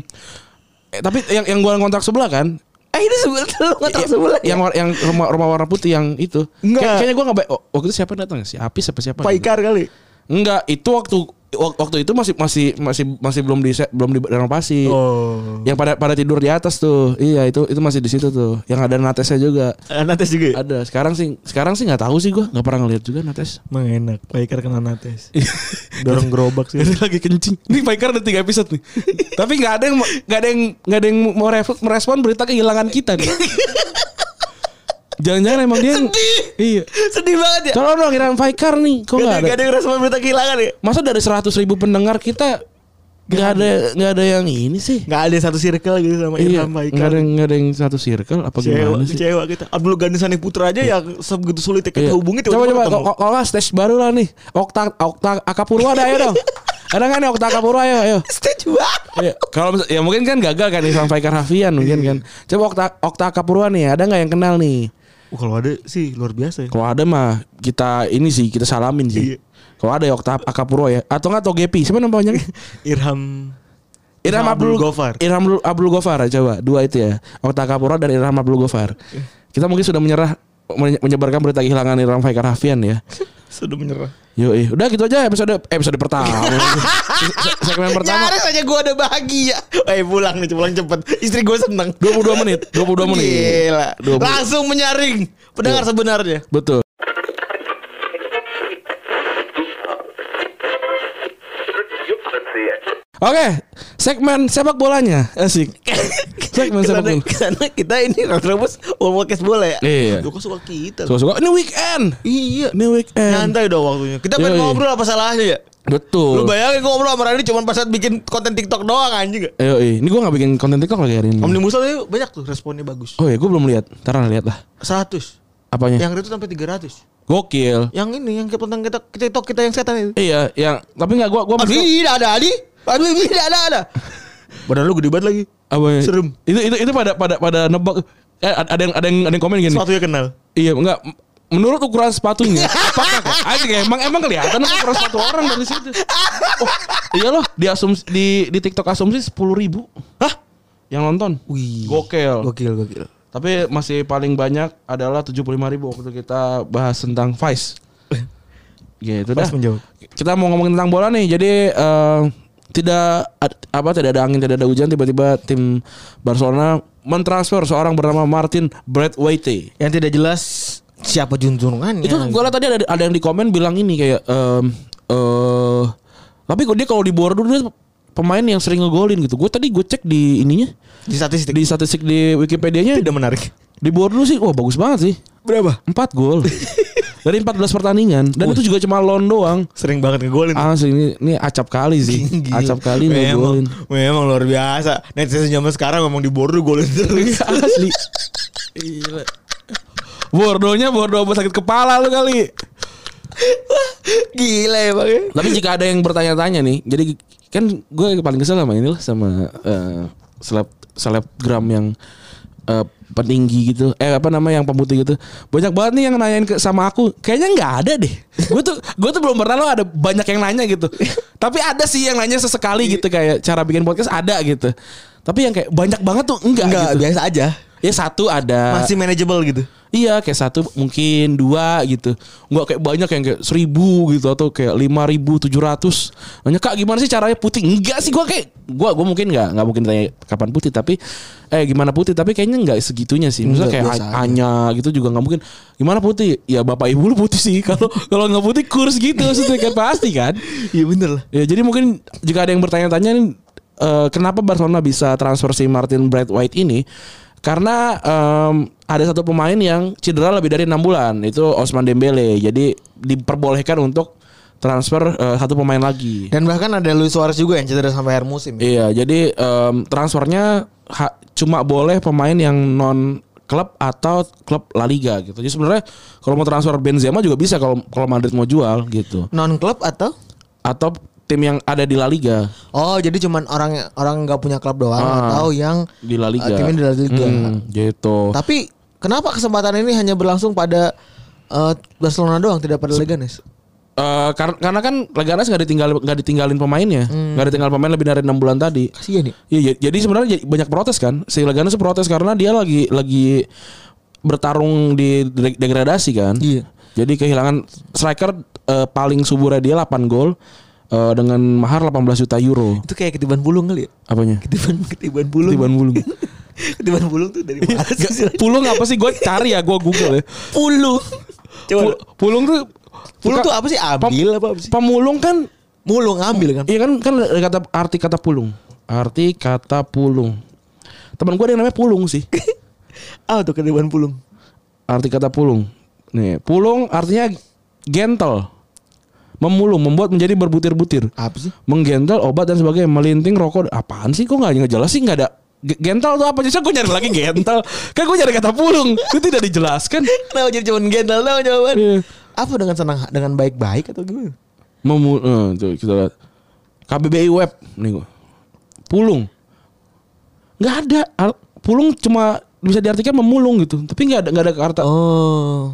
B: Eh, tapi yang yang gua kontrak sebelah kan?
A: Eh ini [LAUGHS] sebelah lo
B: Eh,
A: ngotak sebelah ya?
B: Yang war- yang rumah, rumah warna putih yang itu.
A: Nggak.
B: Kayak- kayaknya gua nggak ba- oh, waktu itu siapa yang datang ya? Si Apis apa siapa?
A: Pak Ikar kali
B: Enggak, itu waktu wak- waktu itu masih masih masih masih belum di belum direnovasi.
A: Oh
B: Yang pada pada tidur di atas tuh. Iya, itu itu masih di situ tuh. Yang ada Natesnya juga.
A: Nates juga ya?
B: Ada. Sekarang sih sekarang sih nggak tahu sih gua, nggak pernah ngeliat juga
A: [LAUGHS]
B: Nates.
A: Emang enak Pak Ikar kena Nates [LAUGHS] Dorong gerobak [LAUGHS] sih
B: Ini lagi kencing. Ini Faker ada tiga episode nih. Tapi nggak ada yang nggak ada yang nggak ada yang mau ref- merespon berita kehilangan kita nih. Jangan-jangan emang dia yang-
C: Sedih.
B: Iya.
C: Sedih banget ya.
B: Tolong dong kirain Faker nih. Kok
A: Gak
B: nggak
A: ada,
B: ada?
A: gak ada yang respon berita kehilangan ya
B: Masa dari 100 ribu pendengar kita nggak ada nggak ada yang ini sih.
A: Nggak ada satu circle gitu sama
B: Iya.
A: Ilham Baikal.
B: Nggak ada yang nggak ada yang satu circle apa
A: Kecewa,
B: gimana sih?
A: kecewa gitu. kita. Abdul Ghani Sani Putra aja ya sebegitu sulit kita
B: Iya.
A: hubungi
B: coba
A: tiba-tiba
B: coba
A: ketemu. [LAUGHS]
B: kalau- kalau nggak stage baru lah nih. Okta Okta Akapurwa ada ayo dong. Ada nggak nih Okta Akapurwa ayo ayo.
C: Stage banget.
B: Iya, kalau misal- ya mungkin kan gagal kan Irfan Faikar Hafian mungkin kan. Coba Okta Okta Kapurwa nih, ada nggak yang kenal nih?
A: Wah, kalau ada sih luar biasa ya.
B: Kalau ada mah kita ini sih kita salamin sih.
A: Iya.
B: Kalau ada ya Okta Akapurwa ya atau nggak Togepi, siapa nama panjangnya?
A: Irham
B: Irham Abdul
A: Abdul Gofar.
B: Irham Abdul, Abdul Gofar ya, coba dua itu ya. Okta Kapurwa dan Irham Abdul Gofar. Kita mungkin sudah menyerah menye- menyebarkan berita kehilangan Irfan Faikar Hafian ya.
A: sudah menyerah.
B: Yo, udah gitu aja episode episode pertama. [LAUGHS] Se- Segmen pertama
C: Nyaris aja gue ada bahagia.
A: [LAUGHS] Eh pulang nih, pulang cepet. Istri gue seneng.
B: 22 menit, 22 menit. Iya.
A: Gila.
B: 20.
A: Langsung menyaring. Pendengar sebenarnya.
B: Betul. Oke, segmen sepak bolanya
A: [LAUGHS]
B: asik. segmen
A: Kita,
B: sepak bola.
A: kita, kita ini Retrobus Podcast bola ya.
B: Iya.
A: Lu kok suka kita.
B: Suka-suka. Ini weekend.
A: Iya.
B: Ini weekend.
A: Nyantai dong waktunya. Kita
B: Yoi.
A: pengen ngobrol apa salahnya ya? Lu
B: Iya, Betul.
A: bayangin ngobrol sama Rani cuma pas saat bikin konten TikTok doang anjing gak?
B: Ayo, ini gua nggak bikin konten TikTok lagi hari ini. iya,
A: Omnibus Law tuh banyak tuh responnya bagus.
B: Oh ya, gua belum lihat. Ntar lihat lah.
A: 100.
B: Apanya?
A: Yang retweet sampai 300.
B: Gokil.
A: Yang ini yang kita tentang kita kita TikTok kita yang setan itu.
B: Iya, yang tapi nggak gua gua
A: Aduh, tidak ada Adi. Aduh, tidak ada ada. Badan lu gede banget lagi.
B: apa ya?
A: Serem.
B: Itu itu itu pada pada pada nebak eh, ada ada yang ada yang ada yang komen gini.
A: Sepatunya kenal.
B: Iya, enggak menurut ukuran sepatunya. apakah kayak- Anjing, emang emang kelihatan ukuran sepatu orang dari situ. Oh, iya loh, di asumsi di di TikTok asumsi 10.000 ribu. Hah? Yang nonton.
A: Wih.
B: Gokil.
A: Gokil, gokil.
B: Tapi masih paling banyak adalah 75.000 ribu waktu kita bahas tentang Vice. Gitu dah.
A: Pas menjawab.
B: Kita mau ngomongin tentang bola nih. Jadi eh, tidak ad- apa tidak ada angin, tidak ada hujan tiba-tiba tim Barcelona mentransfer seorang bernama Martin Braithwaite.
A: Yang tidak jelas siapa junjungannya.
B: Itu gue liat tadi ada, ada yang di komen bilang ini kayak em, eh tapi kok dia kalau di Bordeaux dia pemain yang sering ngegolin gitu. Gue tadi gue cek di ininya
A: di statistik
B: di statistik di Wikipedia-nya
A: tidak menarik.
B: di Bordeaux sih wah bagus banget sih.
A: Berapa?
B: 4
A: [LAUGHS]
B: gol. Dari 14 pertandingan dan itu juga cuma lon doang.
A: Sering banget ngegolin.
B: Ah, sih, ini, ini acap kali sih.
A: Gila.
B: Acap kali
A: memang, [LAUGHS]
B: ngegolin.
A: memang luar biasa. Netizen zaman sekarang memang di border golin terus. [LAUGHS]
B: Asli. Bordonya Bordeaux apa sakit kepala lu kali.
C: Gila emang ya.
B: Tapi jika ada yang bertanya-tanya nih, jadi kan gue paling kesel sama ini lah sama eh, seleb selebgram yang eh, peninggi gitu, eh apa nama yang pemutih gitu. Banyak banget nih yang nanyain ke sama aku, kayaknya nggak ada deh. Gue tuh gue tuh belum pernah loh ada banyak yang nanya gitu. Tapi ada sih yang nanya sesekali gitu kayak cara bikin podcast ada gitu. Tapi yang kayak banyak banget tuh enggak,
C: Enggak,
B: gitu.
C: biasa aja.
B: Ya satu ada.
A: Masih manageable gitu.
B: Iya kayak satu mungkin dua gitu Nggak kayak banyak yang kayak seribu gitu Atau kayak lima ribu tujuh ratus Nanya kak gimana sih caranya putih Enggak sih gua kayak gua gua mungkin nggak nggak mungkin tanya kapan putih Tapi eh gimana putih Tapi kayaknya nggak segitunya sih Misalnya kayak
C: biasa aja.
B: Anya gitu juga nggak mungkin Gimana putih Ya bapak ibu lu putih sih [LAUGHS] Kalau kalau nggak putih kurs gitu Maksudnya kan pasti kan
A: Iya bener lah.
B: Ya jadi mungkin jika ada yang bertanya-tanya nih, eh, kenapa Barcelona bisa transfer si Martin Braithwaite ini? Karena em, ada satu pemain yang cedera lebih dari enam bulan itu Osman Dembele. Jadi diperbolehkan untuk transfer eh, satu pemain lagi.
A: Dan bahkan ada Luis Suarez juga yang cedera sampai akhir musim. ya.
B: Iya, jadi em, transfernya ha- cuma boleh pemain yang non klub atau klub La Liga gitu. Jadi sebenarnya kalau mau transfer Benzema juga bisa kalau kalau Madrid mau jual gitu.
A: Non klub atau?
B: Atau tim yang ada di La Liga.
A: Oh jadi cuman orang orang nggak punya klub doang
B: Ah.
A: atau yang
B: di La Liga.
A: Eh, timnya di La Liga.
B: Mm, gitu.
A: Tapi kenapa kesempatan ini hanya berlangsung pada eh, Barcelona doang tidak pada Leganes?
B: Eh, kar- karena kan Leganes nggak ditinggal nggak ditinggalin pemainnya,
A: Hmm.
B: nggak ditinggal pemain lebih dari enam bulan tadi.
A: Kasihan ya.
B: Iya, ya- jadi sebenarnya jadi banyak protes kan. Si Leganes protes karena dia lagi lagi bertarung di de- degradasi kan.
A: Iya.
B: Jadi kehilangan striker eh, paling suburnya dia 8 gol eh, dengan mahar 18 juta euro.
A: Itu kayak ketiban bulung kali ya.
B: Apanya?
A: Ketiban ketiban bulung.
B: Ketiban bulung.
A: [LAUGHS]
B: Iya,
A: ketiban bulung tuh dari mana sih?
B: Nggak, pulung apa sih? Gue cari ya, gue google ya.
A: Pulung. Coba
B: Pul- pulung tuh
A: pulung
B: suka-
A: tuh apa sih? Ambil apa, apa sih?
B: Pemulung kan
A: Mulung ambil kan.
B: Iya kan kan ada kata arti kata pulung. Arti kata pulung. Teman gue ada yang namanya pulung sih.
A: Ah tuh ketiban pulung.
B: Arti kata pulung. Nih, pulung artinya gentle. Memulung, membuat menjadi berbutir-butir.
A: Apa sih?
B: Menggentle obat dan sebagainya, melinting rokok. Apaan sih kok nggak nggak jelas sih nggak ada Ge- gentle tuh apa sih? Gue nyari lagi gentle. Kan gue nyari kata pulung. Itu tidak dijelaskan.
A: [LAUGHS] Kenapa jadi cuman gentle tau jawaban?
B: Iya.
A: Apa dengan senang dengan baik-baik atau gimana?
B: Memu eh, tuh kita lihat. KBBI web nih gua. Pulung. Nggak ada. Al- Pulung cuma bisa diartikan memulung gitu. Tapi nggak ada nggak ada kata
A: Oh.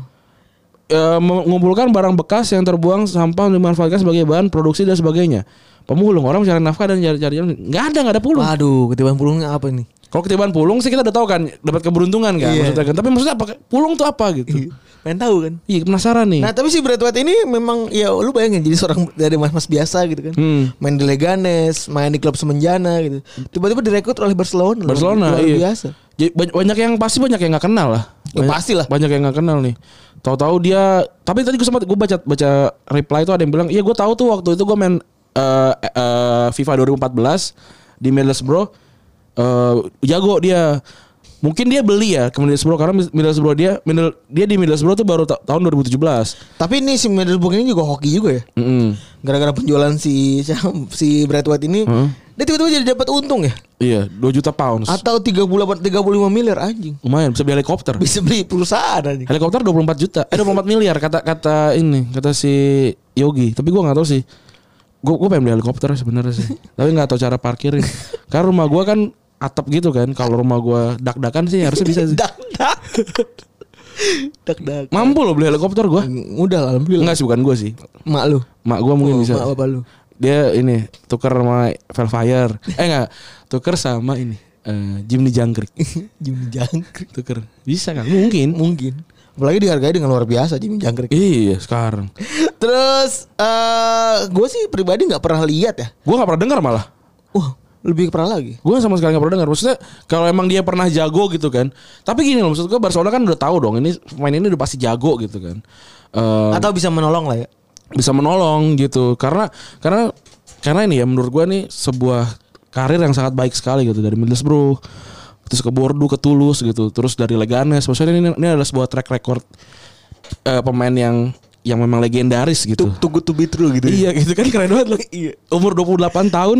B: eh, mengumpulkan barang bekas yang terbuang sampah untuk dimanfaatkan sebagai bahan produksi dan sebagainya. Pemulung orang mencari nafkah dan cari-cari nggak ada nggak ada pulung.
A: Waduh, ketiban pulungnya apa nih?
B: Kalau ketibaan pulung sih kita udah tahu kan dapat keberuntungan kan
A: Iya.
B: maksudnya kan. Tapi maksudnya apa? Pulung tuh apa gitu?
A: Pengen tahu kan?
B: Iya penasaran nih.
A: Nah tapi si Brad White ini memang ya lu bayangin jadi seorang dari mas-mas biasa gitu kan
B: Hmm.
A: Main di Leganes, main di klub Semenjana gitu Tiba-tiba direkrut oleh Barcelona Luar-
B: Barcelona
A: Luar
B: iya.
A: biasa
B: Jadi banyak, banyak yang pasti banyak yang nggak kenal lah.
A: Ya,
B: Banyak-
A: pasti lah.
B: Banyak yang nggak kenal nih. Tahu-tahu dia tapi tadi gue sempat gue baca baca reply itu ada yang bilang, "Iya gue tahu tuh waktu itu gue main eh, eh, FIFA 2014 di Middlesbrough eh jago dia. Mungkin dia beli ya ke Middlesbrough karena Middlesbrough dia Middle, dia di Middlesbrough tuh baru ta- tahun 2017.
A: Tapi ini si Middlesbrough ini juga hoki juga ya
B: Mm-mm. Hmm.
A: Gara-gara penjualan si si Brad White ini
C: Dia tiba-tiba jadi dapat untung ya?
B: Iya, 2 juta pounds.
C: Atau 38 35 miliar anjing.
B: Lumayan bisa beli helikopter.
C: Bisa beli perusahaan anjing.
B: Helikopter 24 juta. Eh 24 miliar kata kata ini, kata si Yogi. Tapi gua nggak tahu sih. Gua gua pengen beli helikopter sebenarnya
C: [LAUGHS]
B: sih. Tapi nggak tahu cara parkirin. Karena rumah gua kan atap gitu kan. Kalau rumah gua dak-dakan sih harusnya
C: [LAUGHS]
A: [LAUGHS]
B: bisa sih.
C: Dak dak. Dak dak.
B: Mampu loh beli helikopter gua.
C: Udah lah, alhamdulillah.
B: Enggak sih bukan gua sih.
C: Mak lu.
B: Mak gua mungkin
C: Oh,
B: bisa.
C: mak bapak lu. [LAUGHS]
B: Dia ini tuker sama Velfire. Eh enggak, tuker sama ini eh Jimny Jangkrik.
C: Jimmy jangkrik.
B: Tuker. Bisa kan? Mungkin.
C: Mungkin. Apalagi dihargai dengan luar biasa Jimmy jangkrik.
B: Iya, sekarang.
C: Terus eh gue sih pribadi nggak pernah lihat ya.
B: Gua nggak pernah dengar malah.
C: Wah, lebih pernah lagi.
B: Gue sama sekali gak pernah dengar. Maksudnya kalau emang dia pernah jago gitu kan. Tapi gini loh, maksud gue Barcelona kan udah tahu dong ini pemain ini udah pasti jago gitu kan.
A: Oh.
B: Eh,
C: Atau bisa menolong lah ya.
B: bisa menolong gitu. Karena karena karena ini ya menurut gue nih sebuah karir yang sangat baik sekali gitu dari Middlesbrough terus ke Bordeaux ke Toulouse gitu terus dari Leganes maksudnya ini, ini adalah sebuah track record eh, pemain yang yang memang legendaris gitu
A: Too good to be true
C: ya.
A: gitu.
B: Iya gitu kan keren banget loh. Umur 28 tahun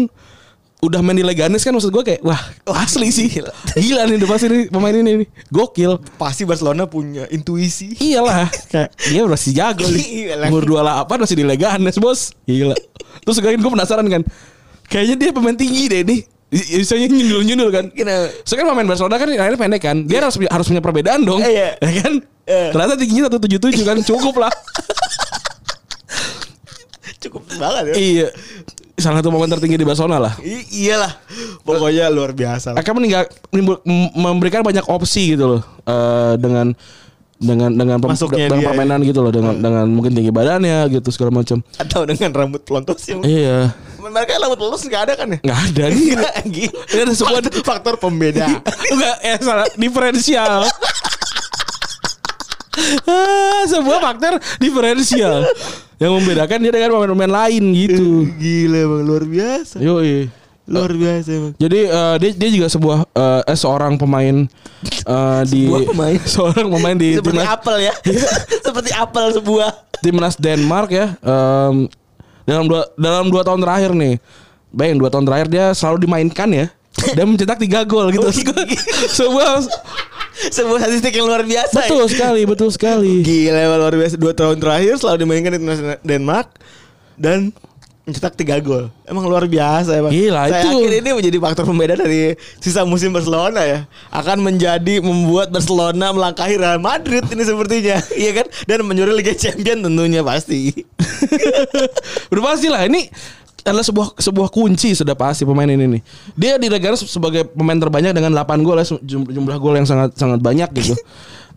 B: udah main di Leganes kan maksud gue kayak wah asli sih. Gila, nih udah pasti nih, pemain ini nih. Gokil.
A: Pasti Barcelona punya intuisi.
B: Iyalah. Kayak dia masih jago nih.
A: Iya lah.
B: Umur 28 masih di Leganes, Bos. Gila. Terus gue gue penasaran kan. Kayaknya dia pemain tinggi deh nih. Biasanya nyundul-nyundul kan.
C: Kenapa?
B: Soalnya kan pemain Barcelona kan akhirnya pendek kan. Dia harus harus punya perbedaan dong.
C: [LAUGHS] Iya.
B: Ya [LAUGHS] kan?
C: Iya.
B: Ternyata tingginya 177 kan cukup [LAUGHS] lah.
A: Cukup banget ya.
B: iya. Salah satu momen tertinggi di Barcelona lah.
A: I- iyalah. Pokoknya luar biasa. lah.
B: akan meninggal menimbul- m- memberikan banyak opsi gitu loh eh, dengan dengan dengan pem-
A: Masuknya
B: dengan
A: dia,
B: permainan
C: ya.
B: gitu loh dengan dengan mungkin tinggi badannya gitu segala macam
A: [LAUGHS] Atau dengan rambut pelontos yang
B: iya
A: mereka rambut pelontos nggak ada kan ya?
B: nggak ada
C: [LAUGHS]
B: nih
C: Iya.
A: [LAUGHS] Gila.
B: Ini ada sebuah-
A: Faktor- faktor pembeda.
B: enggak eh salah diferensial Ah, sebuah faktor diferensial yang membedakan dia dengan pemain-pemain lain
A: Iya.
B: gitu
A: Gila bang, luar biasa.
B: Yoi.
C: Oh.
A: Luar biasa bang.
B: Jadi eh, dia dia juga sebuah eh, eh, seorang pemain eh, di
C: Sebuah pemain.
B: [LAUGHS] seorang pemain di
C: Seperti
B: timnas-
C: apel ya.
A: Iya.
C: [LAUGHS] Seperti apel sebuah.
B: timnas Denmark ya em, dalam dua dalam dua tahun terakhir nih bayang dua tahun terakhir dia selalu dimainkan ya dan mencetak tiga gol gitu [LAUGHS] sebuah
C: [LAUGHS] Sebuah statistik yang luar biasa. ya.
B: betul sekali betul sekali
A: Gila Bang, luar biasa. Dua tahun terakhir selalu dimainkan di timnas Denmark dan mencetak tiga gol. Emang luar biasa emang.
B: Gila,
A: Saya
B: itu-
A: yakin ini menjadi faktor pembeda dari sisa musim Barcelona ya. Akan menjadi membuat Barcelona melangkahi Real Madrid ini sepertinya. [LAUGHS] Iya kan? Dan menyuruh Liga Champion tentunya pasti. [LAUGHS]
B: udah pasti lah ini adalah sebuah sebuah kunci sudah pasti pemain ini nih. Dia di negara sebagai pemain terbanyak dengan 8 gol ya sum- jum- jumlah gol yang sangat sangat banyak gitu.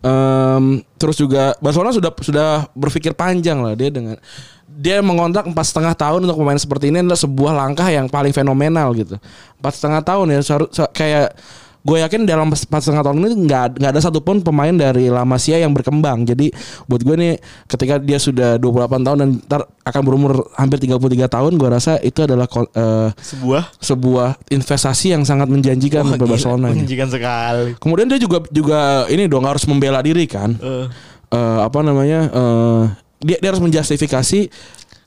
B: Em, terus juga Barcelona sudah sudah berpikir panjang lah dia dengan dia mengontrak empat setengah tahun untuk pemain seperti ini adalah sebuah langkah yang paling fenomenal gitu. Empat setengah tahun ya seharu- se- kayak gue yakin dalam empat setengah tahun ini nggak nggak ada satupun pemain dari La Masia yang berkembang. Jadi buat gue nih ketika dia sudah 28 tahun dan ntar akan berumur hampir 33 tahun, gue rasa itu adalah ko- eh,
A: Sebuah
B: sebuah investasi yang sangat menjanjikan
A: Wah,
B: untuk
A: gila,
B: Barcelona. ini.
A: Menjijikan sekali.
B: Kemudian dia juga juga ini dong harus membela diri kan.
A: Eh,
B: Eh, apa namanya? eh, dia, dia harus menjustifikasi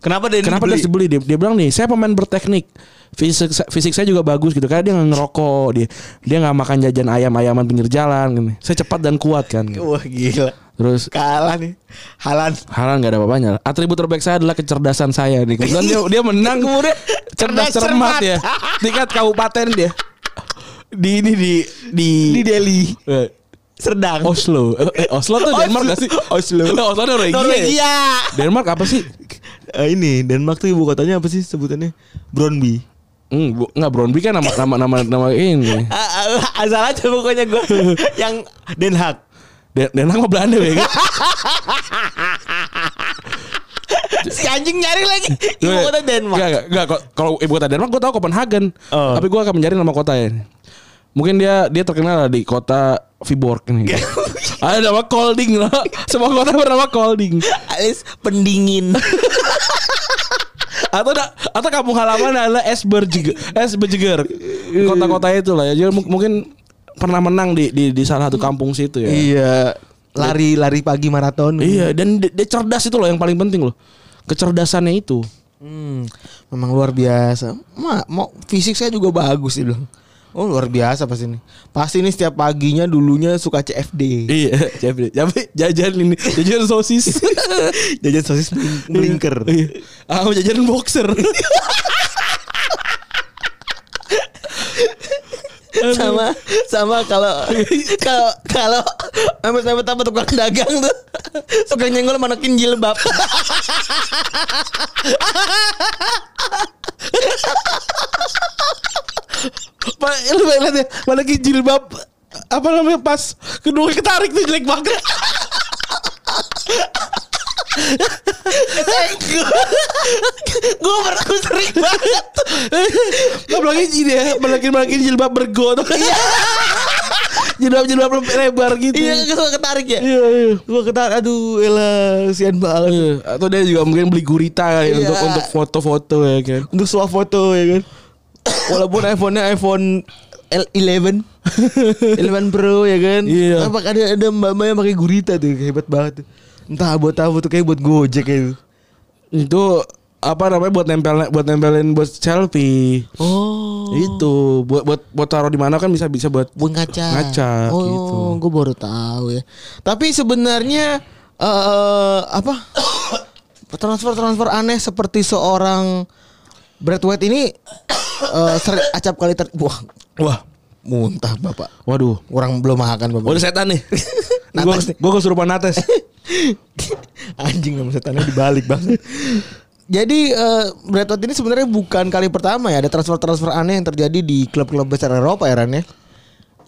A: kenapa dia
B: Kenapa dia harus dibeli? Dia, dia bilang nih, saya pemain berteknik. Fisik fisik saya juga bagus gitu. Karena dia nggak ngerokok, dia dia nggak makan jajan ayam-ayaman pinggir jalan. Gitu. Saya cepat dan kuat kan. gitu.
A: Wah gila.
B: Terus
A: Kalah nih. Halan.
B: Halan nggak ada apa-apanya. lah. Atribut terbaik saya adalah kecerdasan saya nih. Kemudian dia, dia menang.
A: Kemudian
B: [LAUGHS] cerdas
A: cerdas
B: cermat
A: cermat.
B: ya. Tingkat kabupaten dia. Di ini di di,
A: Di Delhi. Oh,
B: eh,
A: Serdang.
B: Oslo. Eh, eh, Oslo tuh Denmark nggak sih?
A: Oslo.
B: Nah, [LAUGHS] Oslo Norwegia. ya.
A: Norwegia.
B: Denmark apa sih?
A: iya. Eh, ini Denmark tuh ibu kotanya apa sih sebutannya? Brøndby.
B: Hmm, bu- nggak Brøndby kan nama nama nama nama [LAUGHS] ini.
A: A- a- Ah, Asal aja pokoknya [LAUGHS] gue yang Den Haag.
B: Den, Den Haag mah Belanda ya kan?
A: Si anjing nyari lagi ibu kota
B: Eh, Enggak,
A: [LAUGHS] Denmark.
B: enggak, enggak. Kok- Kalau ibu kota Denmark gue tahu Copenhagen.
A: Oh.
B: Tapi gue akan mencari nama kotanya. Mungkin dia dia terkenal lah di kota Viborg ini.
A: Iya.
B: [LAUGHS] Ada nama Kolding lah. [LAUGHS] Semua kota bernama Kolding.
C: Alis pendingin.
B: Atau ada atau kampung halaman adalah Esberg Esberger. Kota-kota itu lah ya. Jadi mu- mungkin pernah menang di di, di salah satu kampung situ ya.
A: Iya. Lari lari pagi maraton.
B: Iya, dan dia, dia cerdas itu loh yang paling penting loh. Kecerdasannya itu.
A: Hmm, memang luar biasa. Ma, mau fisik saya juga bagus dia bilang. Oh luar biasa pasti ini. Pasti ini setiap paginya dulunya suka CFD.
B: [LAUGHS] Iya, Jabri. Jabri jajan ini, jajan
A: [LAUGHS]
B: sosis.
D: Jajan sosis bling- blinker.
B: Iya. Ah, mau jajan [LAUGHS] boxer.
A: sama sama kalau kalau kalau sama sama sama tukang dagang tuh suka nyenggol manakin jilbab.
B: Pak, lu lihat ya, mana lagi jilbab apa namanya pas kedua ketarik tuh jelek banget.
A: Gue pernah gue sering banget.
B: Apalagi ini ya, makin-makin jilbab [LAUGHS] bergot. jilbab-jilbab lebar gitu.
A: Iya gue ketarik ya.
B: Iya, iya.
D: Gua ketar aduh elah sian banget.
B: Eh, Atau dia juga mungkin beli gurita ya,
A: Iya.
B: untuk untuk foto-foto ya kan.
D: Untuk suap foto ya kan. Walaupun iPhone-nya iPhone
A: L- [LAUGHS] 11
D: 11 Pro ya kan.
B: Iya.
D: Apa ada ada mbak-mbak yang pakai gurita tuh hebat banget. tuh. Entah buat apa tuh kayak gitu. buat Gojek itu.
B: Itu apa namanya buat nempel buat nempelin buat selfie.
A: Oh.
B: Itu buat buat buat taruh di mana kan bisa bisa buat
A: Buat ngaca.
B: Ngaca,
A: oh,
B: gitu.
A: gue baru tahu ya. Tapi sebenarnya eh apa? Transfer-transfer aneh seperti seorang Brad White ini eh, sering acap kali ter Wah,
B: wah,
A: muntah Bapak.
B: waduh.
A: Kurang belum makan Bapak.
B: Udah setan [LAUGHS] nih.
A: Natas
B: Gue gue kesurupan nates.
A: [LAUGHS]
D: Anjing sama setannya dibalik banget.
A: Jadi eh, Brad White ini sebenarnya bukan kali pertama ya ada transfer-transfer aneh yang terjadi di klub-klub besar Eropa ya Ran ya.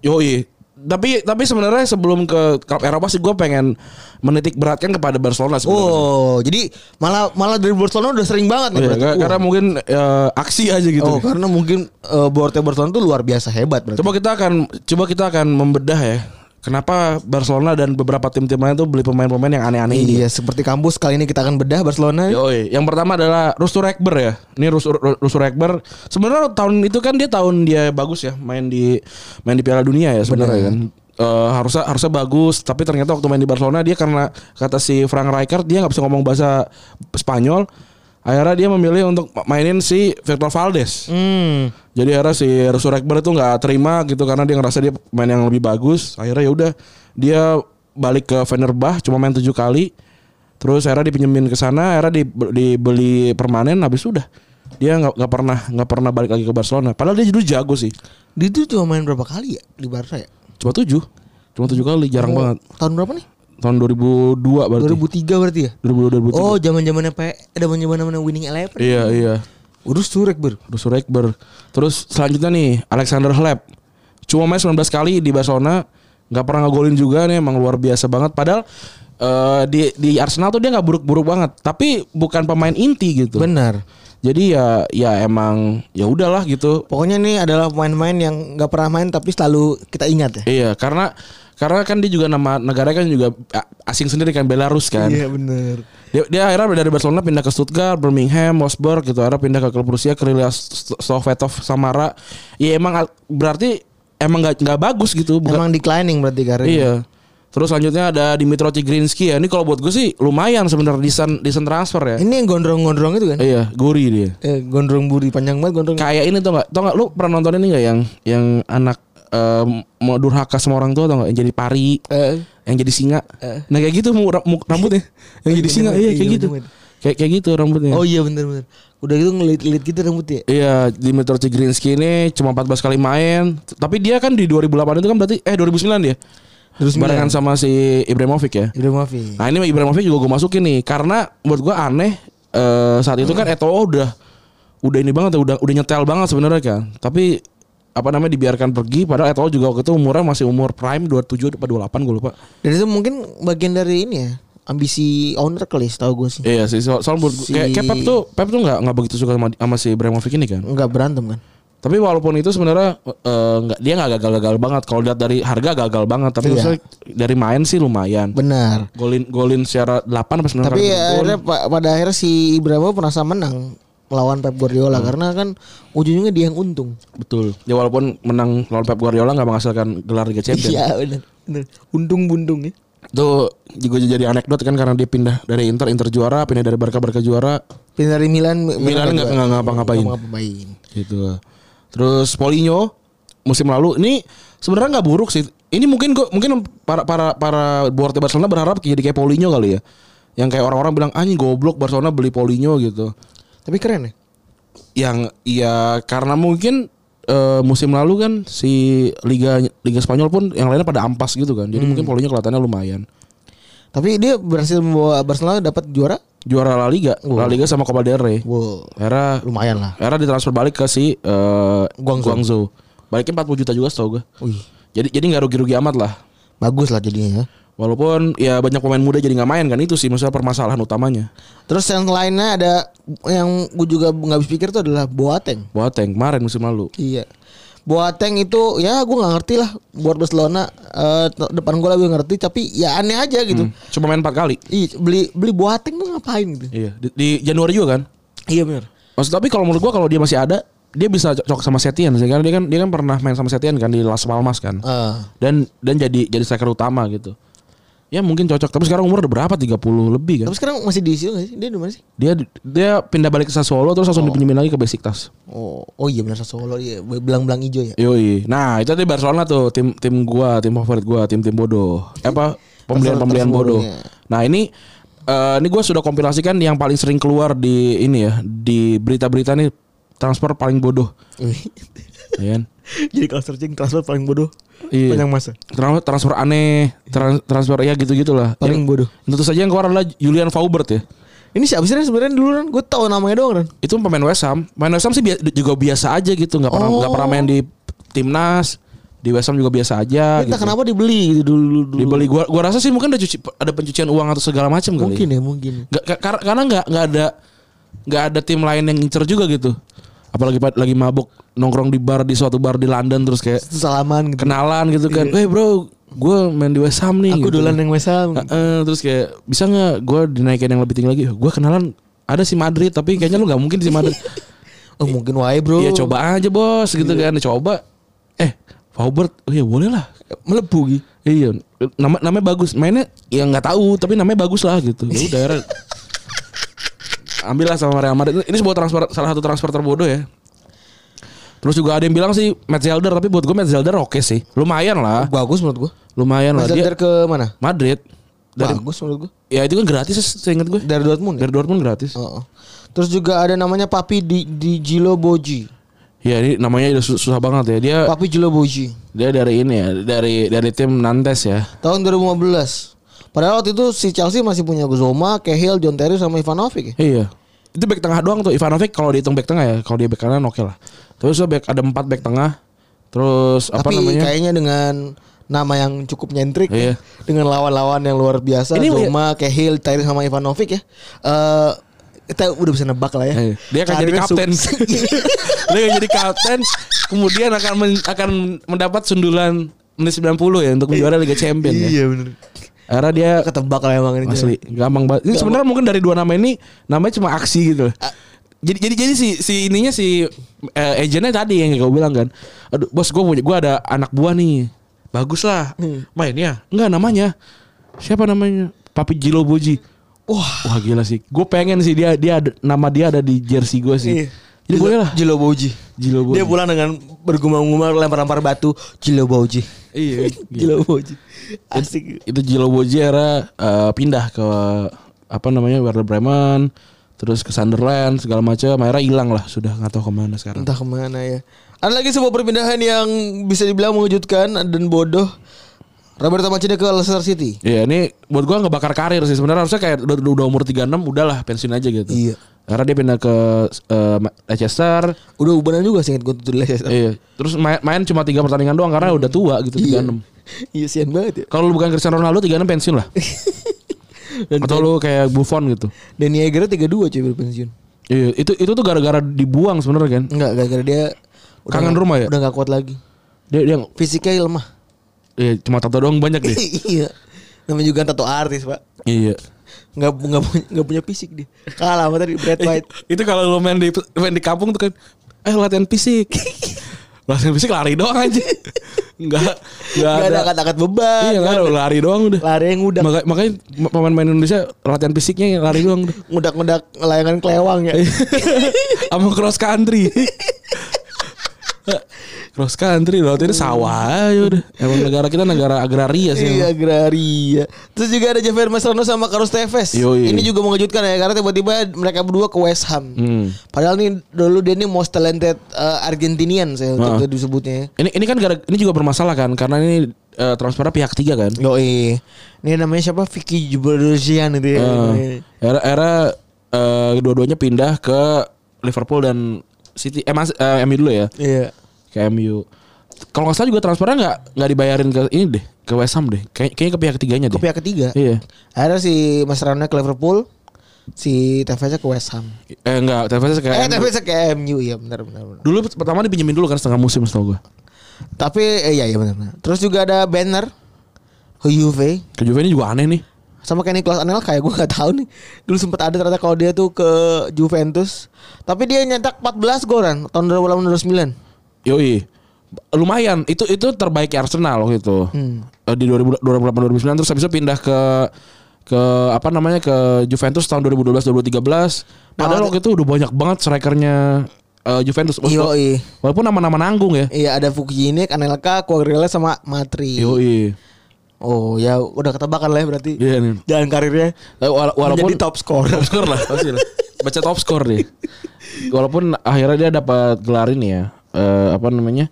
B: Yoi. Tapi tapi sebenarnya sebelum ke klub Eropa sih gue pengen menitik beratkan kepada Barcelona sebenarnya.
A: Oh, jadi malah malah dari Barcelona udah sering banget nih
B: Iya,
A: berarti.
B: ka-
A: Wah.
B: karena mungkin eh, aksi aja gitu.
A: Oh, karena mungkin uh, Borte Barcelona tuh luar biasa hebat berarti.
B: Coba kita akan coba kita akan membedah ya. Kenapa Barcelona dan beberapa tim-tim lain tuh beli pemain-pemain yang aneh-aneh gitu. ini?
A: Iya, seperti kampus kali ini kita akan bedah Barcelona.
B: Yoi. Yang pertama adalah Rustu Rekber ya. Ini Rustu, Rustu Rekber. Sebenarnya tahun itu kan dia tahun dia bagus ya main di main di Piala Dunia ya sebenarnya kan. Eh, harusnya harusnya bagus tapi ternyata waktu main di Barcelona dia karena kata si Frank Rijkaard dia nggak bisa ngomong bahasa Spanyol akhirnya dia memilih untuk mainin si Victor Valdes
A: Hmm.
B: jadi akhirnya si Russo Rekber itu nggak terima gitu karena dia ngerasa dia main yang lebih bagus. Akhirnya ya udah dia balik ke Fenerbah cuma main tujuh kali. Terus akhirnya dipinjemin ke sana, akhirnya di- dibeli permanen habis sudah. Dia nggak nggak pernah nggak pernah balik lagi ke Barcelona. Padahal dia dulu jago sih.
A: Dia tuh cuma main berapa kali ya di Barca ya?
B: Cuma tujuh. Cuma tujuh kali jarang
A: Oh,
B: banget.
A: Tahun berapa nih?
B: Tahun 2002 berarti.
A: 2003 berarti ya?
B: 2002 2003.
A: Oh, zaman-zamannya P, zaman-zamannya Winning Eleven.
B: Iya iya.
A: Udah surek, Bro.
B: Russo Rekber. Terus selanjutnya nih Alexander Hleb. Cuma main 19 kali di Barcelona, nggak pernah ngegolin juga nih emang luar biasa banget. Padahal eh, di di Arsenal tuh dia nggak buruk-buruk banget, tapi bukan pemain inti gitu.
A: Benar.
B: Jadi ya ya emang ya udahlah gitu.
A: Pokoknya ini adalah pemain-pemain yang nggak pernah main tapi selalu kita ingat ya.
B: Iya, karena karena kan dia juga nama negaranya kan juga a- asing sendiri kan Belarus kan.
A: benar.
B: Dia, dia akhirnya dari Barcelona pindah ke Stuttgart, Birmingham, Wolfsburg gitu. Akhirnya pindah ke klub Rusia, Krylia St- Sovetov, Samara. Ya emang al- berarti emang nggak nggak bagus gitu. Bukan,
A: Emang declining berarti karena.
B: iya. Terus selanjutnya ada Dimitro Tigrinski ya. Ini kalau buat gue sih lumayan sebenarnya desain desain transfer ya.
A: Ini yang gondrong-gondrong itu kan?
B: Iya, gori dia.
A: Eh, gondrong buri panjang banget gondrong.
B: Kayak ini tau nggak? Tau nggak? Lu pernah nonton ini nggak yang yang anak eh, mau durhaka sama orang tua tau nggak? Yang jadi pari,
A: Eh,
B: yang jadi singa. Nah kayak gitu mu- mu- [LAUGHS] rambutnya, yang jadi singa. Iya kayak
A: Iya,
B: gitu.
A: bener-bener.
B: Kayak kayak gitu rambutnya.
A: Oh iya benar-benar. Udah gitu ngelit-ngelit gitu rambutnya.
B: Iya, Dimitro Tigrinski ini cuma 14 kali main. Tapi dia kan di 2008 itu kan berarti eh 2009 dia. Terus barengan sama si Ibrahimovic ya.
A: Udah maaf ya.
B: Nah, ini Ibrahimovic juga gue masukin nih karena menurut gue aneh eh, saat itu kan Eto'o udah udah ini banget udah udah nyetel banget sebenarnya kan. Tapi apa namanya dibiarkan pergi padahal Eto'o juga waktu itu umurnya masih umur prime 27 atau 28 gue lupa.
A: Dan itu mungkin bagian dari ini ya ambisi owner kali tahu gue sih.
B: Iya sih, so- soalnya menurut gue
A: Si-
B: kayak, kayak Pep tuh Pep tuh nggak nggak begitu suka sama, sama si Ibrahimovic ini kan.
A: Enggak berantem kan?
B: Tapi walaupun itu sebenarnya eh, nggak dia nggak gagal-gagal banget. Kalau lihat dari harga gagal banget, tapi
A: Iya.
B: maksudnya dari main sih lumayan.
A: Benar.
B: Golin golin secara 8 apa 9
A: Tapi ya,
B: kali
A: akhirnya pa- pada akhirnya si Ibrahimo merasa menang melawan Pep
B: Hmm.
A: Guardiola karena kan ujungnya dia yang untung.
B: betul. Ya walaupun menang lawan Pep Guardiola nggak menghasilkan gelar Liga Champions.
A: Iya benar. Benar. Untung buntung ya.
B: Itu juga jadi anekdot kan karena dia pindah dari Inter, Inter juara, pindah dari Barca, Barca juara
A: Pindah dari Milan
B: Milan nggak- nggak ngapa-ngapain.
A: Nggak ngapa-ngapain.
B: gitu. Terus Poligno musim lalu ini sebenarnya nggak buruk sih. Ini mungkin gua mungkin para para para board di Barcelona berharap jadi kayak Poligno kali ya. Yang kayak orang-orang bilang anjing goblok Barcelona beli Poligno gitu.
A: Tapi keren ya.
B: yang ya karena mungkin eh, musim lalu kan si liga liga Spanyol pun yang lainnya pada ampas gitu kan. Jadi mungkin Polonnya kelihatannya lumayan.
A: Tapi dia berhasil membawa Barcelona dapat juara.
B: Juara La Liga, La Liga sama Copa del Rey.
A: Wow,
B: Era
A: lumayan lah.
B: era ditransfer balik ke si eh,
A: Guangzhou.
B: Guangzhou. Baliknya 40 juta juga setau gue.
A: Wih,
B: Jadi jadi nggak rugi-rugi amat lah.
A: bagus lah jadinya ya.
B: Walaupun ya banyak pemain muda jadi nggak main kan itu sih masalah permasalahan utamanya.
A: Terus yang lainnya ada yang gue juga nggak habis pikir tuh adalah Boateng.
B: Boateng kemarin musim lalu.
A: Iya. Boateng itu ya gue nggak ngerti lah buat Barcelona eh, t- depan gue lebih ngerti tapi ya aneh aja gitu.
B: Cuma main 4 kali.
A: Ih, beli beli Boateng tuh ngapain gitu?
B: Iya, di, di Januari juga kan?
A: Iya benar.
B: Maksud tapi kalau menurut gua kalau dia masih ada, dia bisa cocok sama Setian sih karena dia kan dia kan pernah main sama Setian kan di Las Palmas kan.
A: Eh,
B: Dan dan jadi jadi striker utama gitu. Ya mungkin cocok, tapi sekarang umur udah berapa? 30 lebih kan.
A: tapi sekarang masih di situ nggak sih? Dia di mana sih?
B: Dia dia pindah balik ke Sassuolo terus langsung dipinjemin lagi ke Besiktas.
A: Oh, oh iya benar Sassuolo ya, belang-belang hijau ya.
B: Yoi. Nah, itu tadi Barcelona tuh tim tim gua, tim favorit gua, tim-tim bodoh. Eh, Apa pembelian-pembelian bodoh.
A: Terus
B: Nah, ini eh, ini gua sudah kompilasikan yang paling sering keluar di ini ya, di berita-berita nih transfer paling bodoh. Ya kan?
E: Jadi kalau searching transfer paling bodoh
B: Iya.
E: panjang masa.
B: Tran- transfer aneh, tran- transfer ya gitu-gitulah.
A: Paling
B: Yang-
A: bodoh.
B: Tentu saja yang keluar adalah Julian Faubert ya.
A: Ini siapa sih Ren, sebenarnya dulu kan gue tau namanya doang kan.
B: Itu pemain West Ham. Pemain West Ham sih bi- juga biasa aja gitu, nggak pernah nggak pernah main di timnas. Di West Ham juga biasa aja
A: Entah
B: gitu.
A: kenapa dibeli gitu dulu, dulu, dulu.
B: Dibeli gua gua rasa sih mungkin ada cuci, ada pencucian uang atau segala macam kali.
A: Mungkin ya mungkin.
B: Nggak- ka- kar- karena nggak nggak ada nggak ada tim lain yang incer juga gitu. Apalagi pa- lagi mabuk nongkrong di bar di suatu bar di London terus kayak
A: Terus salaman gitu.
B: kenalan gitu kan. Eh bro, gue main di West Ham nih.
E: Aku
B: gitu.
E: dolan yang West Ham.
B: Heeh, terus kayak bisa nggak gue dinaikin yang lebih tinggi lagi? Gue kenalan ada si Madrid tapi kayaknya lu nggak mungkin si Madrid.
A: Oh mungkin wae bro.
B: Iya coba aja bos gitu kan, coba. Eh, Faubert, oh iya boleh lah.
A: melebu gitu.
B: Iya, nama namanya bagus. Mainnya ya nggak tahu tapi namanya bagus lah gitu. Ya udah akhirnya ambil lah sama Real Madrid. Ini sebuah transfer salah satu transfer terbodoh ya. Terus juga ada yang bilang sih Matt Zelder tapi buat gue Matt Zelder oke sih. Lumayan lah.
A: Bagus menurut gue.
B: Lumayan lah
A: Mas
B: dia
A: Zander ke mana?
B: Madrid. Dari,
A: Bagus menurut gue.
B: ya itu kan gratis seingat gue.
A: Dari Dortmund ya?
B: Dari Dortmund gratis.
A: Oh, oh. Terus juga ada namanya Papi di, di Jilo Boji.
B: Ya ini namanya udah su- susah banget ya. Dia
A: Papi Jilo Boji.
B: dia dari ini ya, dari dari tim Nantes ya.
A: Tahun 2015. Padahal waktu itu si Chelsea masih punya Zoma, Cahill, John Terry sama Ivanovic ya.
B: Iya. Itu back tengah doang tuh Ivanovic kalau dihitung back tengah ya, kalau dia back kanan oke lah. Terus tuh back ada empat back tengah. Terus apa
A: Tapi
B: namanya?
A: kayaknya dengan nama yang cukup nyentrik
B: Iya.
A: ya. dengan lawan-lawan yang luar biasa
B: Ini-
A: Zoma, Cahill, Terry sama Ivanovic ya. Eh kita udah bisa nebak lah ya. Iya,
B: Iya. Dia akan jadi
A: Karirnya
B: kapten. [LAUGHS]
A: [LAUGHS]
B: Iya,
A: sukses.
B: dia akan jadi kapten kemudian akan men- akan mendapat sundulan menit 90 ya untuk menjuara Liga Champion ya.
E: Iya benar.
B: Karena dia
A: Ketebak lah emang ini.
B: Asli, gampang banget. Ini sebenarnya mungkin dari dua nama ini namanya cuma aksi gitu. loh. Jadi jadi jadi si si ininya si eh, agennya tadi yang gue bilang kan. Aduh, bos gue punya gue ada anak buah nih. Bagus lah. Mainnya enggak namanya. Siapa namanya? Papi Jilo Boji. Wah, wah gila sih. Gue pengen sih dia dia ada, nama dia ada di jersey gue sih.
E: Iya.
B: Jadi boleh lah.
A: Jilo Boji.
B: Jilo Boji.
E: Dia pulang dengan bergumam-gumam lempar-lempar batu.
A: Jilo Boji.
B: Iya. gila.
E: Gila Boji. Asik.
B: Itu Jilo Boji era eh, pindah ke apa namanya Werder Bremen, terus ke Sunderland segala macam. Akhirnya hilang lah, sudah nggak tahu kemana sekarang.
A: Entah kemana ya. Ada lagi sebuah perpindahan yang bisa dibilang mengejutkan dan bodoh. Roberto Mancini ke Leicester City.
B: Iya ini buat gua ngebakar karir sih sebenarnya harusnya kayak udah, udah umur 36 udahlah pensiun aja gitu.
A: Iya.
B: Karena dia pindah ke eh, Ma- Leicester,
A: Udah ubanan juga sih ingat gue tuh di Leicester.
B: iya. terus main, main cuma tiga pertandingan doang karena udah tua gitu 36.
A: Iya sian banget ya.
B: Kalau lu bukan Cristiano Ronaldo 36 pensiun lah.
A: [LAUGHS] Dan
B: Atau lu kayak Buffon gitu.
A: Danny Agger 32 cuy baru pensiun.
B: Iya, itu itu tuh gara-gara dibuang sebenarnya kan.
A: Enggak gara-gara dia udah
B: Kangen
A: nggak-
B: rumah ya?
A: Udah gak kuat lagi.
B: Dia dia
A: Fisiknya lemah.
B: iya, cuma tato doang banyak
A: [LAUGHS]
B: deh.
A: iya. Namanya juga tato artis, Pak.
B: iya.
A: Enggak enggak punya, nggak punya fisik dia. Kalah
B: Iya.
A: sama tadi Brad Pitt.
B: itu kalau lu main di main di kampung tuh kan eh latihan "Eh, fisik [LAUGHS] latihan fisik lari doang aja nggak nggak
A: Gak ada
B: ada
A: angkat-angkat beban.
B: iya nggak ada lari doang udah
A: Lari yang udah
B: Maka- makanya ma- pemain-pemain Indonesia latihan fisiknya lari doang
A: [LAUGHS]
B: udah.
A: ngudak-ngudak layangan kelewang ya.
B: Iya. sama cross country cross country loh itu sawah aja udah emang negara kita negara agraria sih emang.
A: Iya agraria. Terus juga ada Javier Mascherano sama Carlos Tevez.
B: Yoi.
A: Ini juga mengejutkan ya karena tiba-tiba mereka berdua ke West Ham.
B: Hmm.
A: Padahal nih dulu dia nih most talented uh, Argentinian saya
B: Ah.
A: untuk disebutnya. ya.
B: ini ini kan gara- ini juga bermasalah kan karena ini eh, transfernya pihak tiga kan
A: Yoi. Ini namanya siapa? Vicky Jubeldosian itu ya.
B: Eh, era era eh, dua-duanya pindah ke Liverpool dan City eh, mas, eh, MU dulu ya
A: Iya.
B: ke MU kalau nggak salah juga transfernya nggak nggak dibayarin ke ini deh ke West Ham deh Kay- kayaknya ke pihak ketiganya deh
A: Ke pihak ketiga.
B: iya
A: Akhirnya si Mascherano ke Liverpool, si Tevez ke West Ham.
B: eh nggak Tevez ke MU.
A: Eh Tevez ke MU ya benar benar. benar.
B: dulu pertama dipinjemin dulu kan setengah musim setahu gue
A: Tapi eh, iya iya benar benar. Terus juga ada Banner ke Juve
B: ke Juve ini juga aneh nih
A: sama kayak Nicolas Anelka ya gue nggak tahu nih dulu sempat ada ternyata kalau dia tuh ke Juventus tapi dia nyetak 14 gol kan tahun 2008 2009
B: Yoi. Lumayan. Itu itu terbaik Arsenal waktu itu. Eh, Di 2000 2008 2009 terus habis itu pindah ke ke apa namanya ke Juventus tahun 2012 2013. Padahal
A: Nah,
B: waktu itu udah banyak banget strikernya eh, Juventus. Walaupun,
A: Yoi.
B: walaupun nama-nama nanggung ya.
A: iya ada Fukinik Anelka Quagliarella sama Matri
B: Yoi.
A: oh ya udah ketebakan lah ya berarti
B: Iya nih.
A: jalan karirnya
B: Eh, wala- walaupun
A: menjadi top scorer
B: [LAUGHS] top score lah pasti lah. Baca top score deh. Walaupun akhirnya dia dapat gelar ini ya. eh, apa namanya?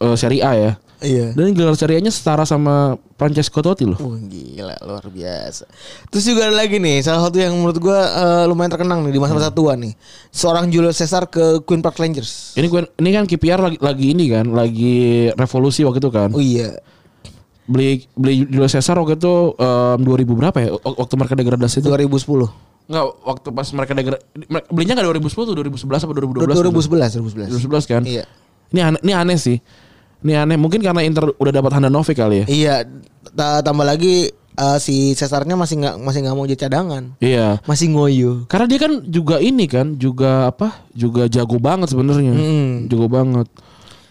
B: Eh, Serie A ya.
A: iya
B: Dan gelar Serie A-nya setara sama Francesco Totti loh.
A: Wah gila luar biasa. Terus juga ada lagi nih salah satu yang menurut gua eh, lumayan terkenang nih di
B: Iya.
A: masa-masa tua nih. Seorang Julio Cesar ke Queen Park Rangers.
B: Ini gue ini kan KPR lagi, lagi ini kan, lagi revolusi waktu itu kan.
A: Oh iya.
B: Beli beli Julio Cesar waktu itu em, 2000 berapa ya? Wak- Waktu mereka degradasi itu.
A: 2010.
B: Enggak, waktu pas mereka degradasi belinya enggak 2010 tuh 2011 apa 2012?
A: 2011 2011.
B: 2011 kan?
A: Iya.
B: Ini aneh, ini aneh sih. Ini aneh mungkin karena Inter udah dapat Handanovic kali ya.
A: Iya, ta- tambah lagi eh, si Cesarnya masih nggak masih nggak mau jadi cadangan,
B: Iya.
A: masih ngoyo.
B: Karena dia kan juga ini kan, juga apa? Juga jago banget sebenarnya. Jago banget.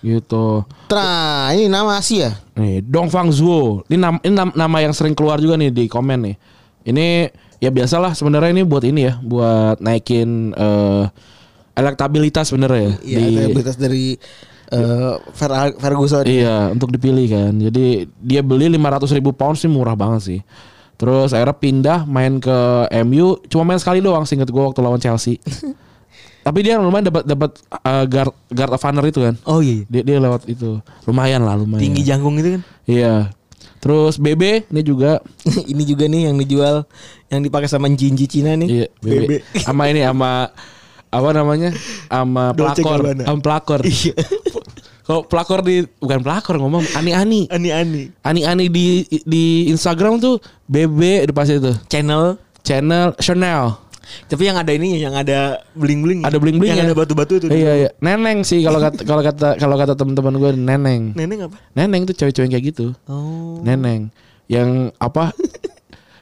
B: Gitu.
A: Nah, ini nama Asia.
B: Nih, Dongfang Zuo. Ini nama, ini nam- nama yang sering keluar juga nih di komen nih. Ini ya biasalah sebenarnya ini buat ini ya, buat naikin eh, elektabilitas sebenarnya ya.
A: Iya,
B: di-
A: elektabilitas dari eh, Fer- Ferguson.
B: Iya, untuk dipilih kan. Jadi dia beli 500 ribu pound sih murah banget sih. Terus akhirnya pindah main ke MU, cuma main sekali doang singkat gua waktu lawan
A: [LAUGHS]
B: Chelsea. Tapi dia lumayan dapat dapat eh, guard guard of honor itu kan.
A: Oh iya,
B: Dia, dia lewat itu. Lumayan lah, lumayan.
A: tinggi jangkung itu kan.
B: Iya. Terus BB ini juga
A: [LAUGHS] ini juga nih yang dijual, yang dipakai sama Jinji Cina nih. [LAUGHS]
B: iya, BB. Sama ini sama apa namanya? Sama
A: Dolce
B: pelakor,
A: Gabbana.
B: sama pelakor.
A: Iya.
B: Kalau pelakor di bukan pelakor ngomong ani-ani.
A: Ani-ani.
B: Ani-ani di di Instagram tuh BB depan itu.
A: Channel.
B: Channel Chanel.
A: Tapi yang ada ini yang ada bling-bling.
B: Ada bling-bling
A: Yang ada batu-batu itu.
B: Iya, iya. Neneng sih kalau kata kalau kata kalau kata teman-teman gue neneng.
A: Nenek apa?
B: Neneng tuh cewek-cewek kayak gitu.
A: Oh.
B: Neneng yang
A: [LAUGHS]
B: apa?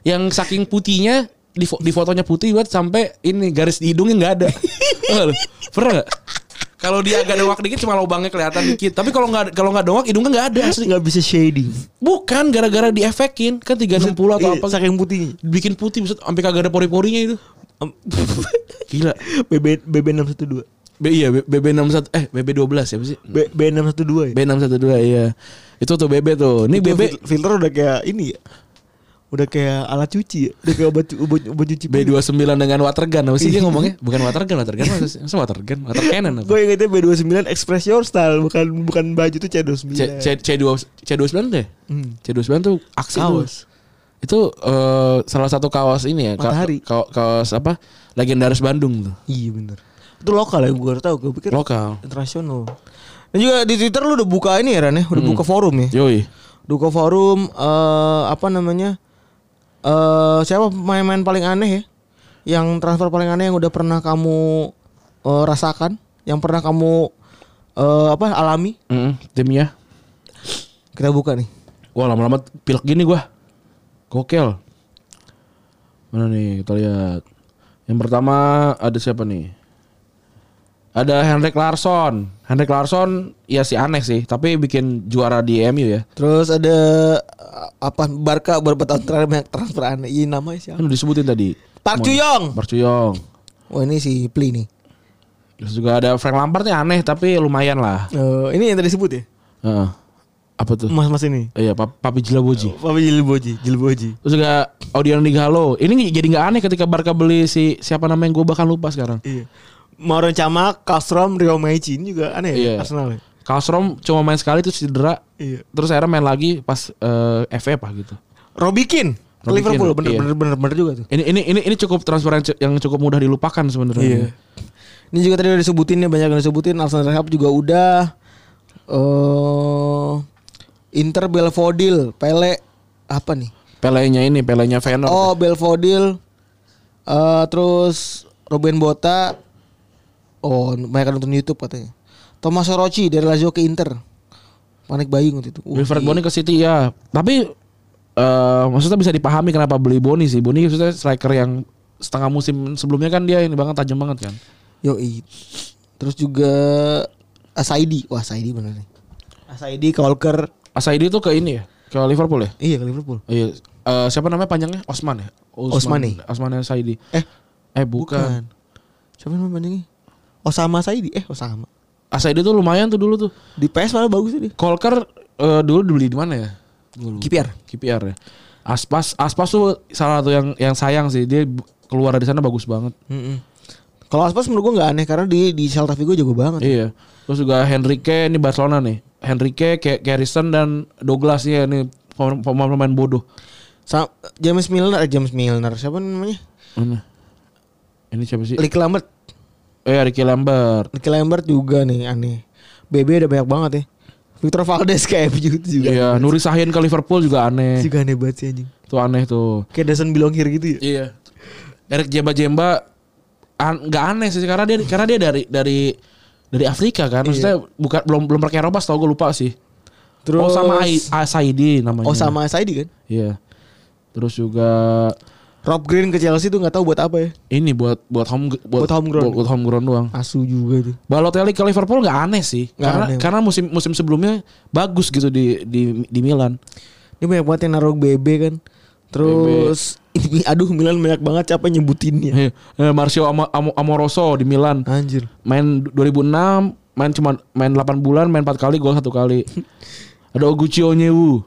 B: yang saking putihnya di, fo- di fotonya putih buat sampai ini garis di hidungnya nggak
A: [LAUGHS]
B: ada. Tau nggak lu? Pernah nggak? Kalau dia agak doang dikit cuma lubangnya kelihatan dikit. Tapi kalau nggak kalau nggak doang hidungnya nggak ada.
A: Asli nggak bisa shading.
B: Bukan gara-gara diefekin kan 360 atau
A: Iya,
B: apa
A: Saking putihnya.
B: bikin putih buset sampai kagak ada pori-porinya itu.
A: [LAUGHS]
B: Gila.
A: BB BB612.
B: B, iya B- BB61 eh BB12 ya apa sih?
A: B- B612 ya.
B: B612 iya. Itu tuh BB tuh. Ini
A: Itu
B: BB
A: fil- filter udah kayak ini ya. Udah kayak alat cuci ya. Udah kayak obat obat, obat cuci.
B: B29 dengan water gun apa sih dia ngomongnya? Bukan water gun, water gun apa sih? Masa water gun? Water cannon apa?
A: Gue ingetnya B29 Express Your Style bukan bukan baju tuh C29.
B: C, C, hmm, C2, C29 deh. C29 tuh aksi tuh.
A: Kaos.
B: Itu eh, salah satu kaos ini ya. ka-
A: Matahari.
B: ka- kaos apa? Legendaris Bandung tuh.
A: Iya bener. Itu lokal ya gue baru tahu. Gue pikir
B: Lokal.
A: internasional. Dan juga di Twitter lu udah buka ini ya Ran ya, udah
B: Hmm.
A: buka forum ya.
B: Yoi.
A: Udah buka forum eh, apa namanya? Eh siapa pemain-pemain paling aneh ya? Yang transfer paling aneh yang udah pernah kamu eh, rasakan, yang pernah kamu eh, apa alami?
B: Mm, timnya.
A: Kita buka nih.
B: Wah lama-lama pilek gini gua. Kokel. Mana nih kita lihat. Yang pertama ada siapa nih? Ada Henrik Larsson. Henrik Larsson ya si aneh sih, tapi bikin juara di MU ya.
A: Terus ada uh, apa Barca beberapa tahun terakhir banyak transfer aneh. Ini namanya siapa?
B: Kan udah disebutin tadi.
A: Park
B: Mon-
A: Ju-yong.
B: Park Ju-yong.
A: Oh ini si Pli nih.
B: Terus juga ada Frank Lampard nih aneh tapi lumayan lah.
F: Eh, ini yang tadi sebut ya?
B: Heeh. Apa tuh?
F: Mas-mas ini.
B: Iya, Pap- Papi Jelaboji.
F: Papi Jilboji, Jilboji.
B: Terus juga Odion Digalo. Ini jadi nggak aneh ketika Barca beli si siapa namanya gue bahkan lupa sekarang.
F: Iya. Mauron Camak, Kastrom, Rio Maichi ini juga aneh
B: Iya.
F: ya Arsenal. ya?
B: Kalstrom cuma main sekali terus cedera.
F: Iya.
B: Terus akhirnya main lagi pas eh, FA apa gitu.
F: Robikin ke
B: Robbie
F: Liverpool
B: Keane,
F: bener,
B: iya.
F: bener bener bener juga tuh.
B: Ini ini ini ini cukup transfer yang, cu- yang cukup mudah dilupakan sebenarnya.
F: Iya.
A: Ini juga tadi udah disebutin ya banyak yang disebutin. Arsenal Rehab juga udah. eh Inter Belfodil, Pele apa nih?
B: Pelenya ini, pelenya Feyenoord.
A: Oh Belfodil. Eh terus Ruben Bota. Oh mereka nonton YouTube katanya. Thomas Orochi dari Lazio ke Inter. Panik buying waktu itu. Uh,
B: Wilfred
A: di-
B: Boni ke City ya. Tapi eh maksudnya bisa dipahami kenapa beli Boni sih. Boni maksudnya striker yang setengah musim sebelumnya kan dia ini banget tajam banget kan.
A: Yoi. Terus juga Asaidi. Wah, Asaidi bener nih.
F: Asaidi, Kolker.
B: Asaidi itu ke ini ya, ke Liverpool ya.
A: Iya, ke Liverpool.
B: Iya. Eh, siapa namanya panjangnya? Osman ya?
A: Osmani.
B: Osman Saidi.
A: Eh,
B: Eh bukan.
A: bukan. Siapa nama panjangnya? Osama Saidi. Eh, Osama.
B: Asaidi tuh lumayan tuh dulu tuh.
A: Di PS malah bagus ya tadi.
B: Kolker eh, dulu dibeli di mana ya? Dulu.
A: KPR.
B: KPR ya. Aspas, Aspas tuh salah satu yang yang sayang sih. Dia bu- keluar dari sana bagus banget.
A: Kalau Aspas menurut gua nggak aneh karena di di Celta Vigo jago banget.
B: Iya. Terus juga Henrique ini Barcelona nih. Henrique, Ke- Garrison dan Douglas ya ini pem- pemain-pemain bodoh.
A: Sa- James Milner, eh, James Milner. Siapa namanya?
B: Mana? Ini siapa sih?
A: Ricky Lambert.
B: eh Ricky Lambert.
A: Ricky Lambert juga nih aneh. BB ada banyak banget ya. Victor Valdes kayak begitu juga.
B: Iya, Nuri Sahin ke Liverpool juga aneh.
F: Juga aneh banget sih anjing.
B: Tuh aneh tuh.
F: Kayak Dason belong here gitu ya.
B: Iya. Eric Jemba Jemba an- nggak aneh sih karena dia karena dia dari dari dari Afrika kan. Maksudnya bukan belum belum pakai Eropa, tau gue lupa sih.
A: Terus
B: oh sama Ai- Asaidi namanya.
A: Oh sama Saidi kan?
B: Iya. Terus juga
A: Rob Green ke Chelsea tuh nggak tahu buat apa ya.
B: ini buat buat home
F: Buat homegrown.
B: buat, buat homegrown doang.
A: Asu juga tuh.
B: Balotelli ke Liverpool nggak aneh sih.
A: Nggak
B: karena
A: aneh.
B: karena musim musim sebelumnya bagus gitu di di di Milan.
A: Ini banyak banget yang naruh BB kan. Terus ini aduh Milan banyak banget siapa nyebutinnya.
B: Iya. Eh, Marcio Amo- Amo- Amoroso di Milan.
A: Anjir.
B: main 2006 main cuma main 8 bulan main 4 kali gol satu
A: [LAUGHS]
B: kali ada Oguchi Onyewu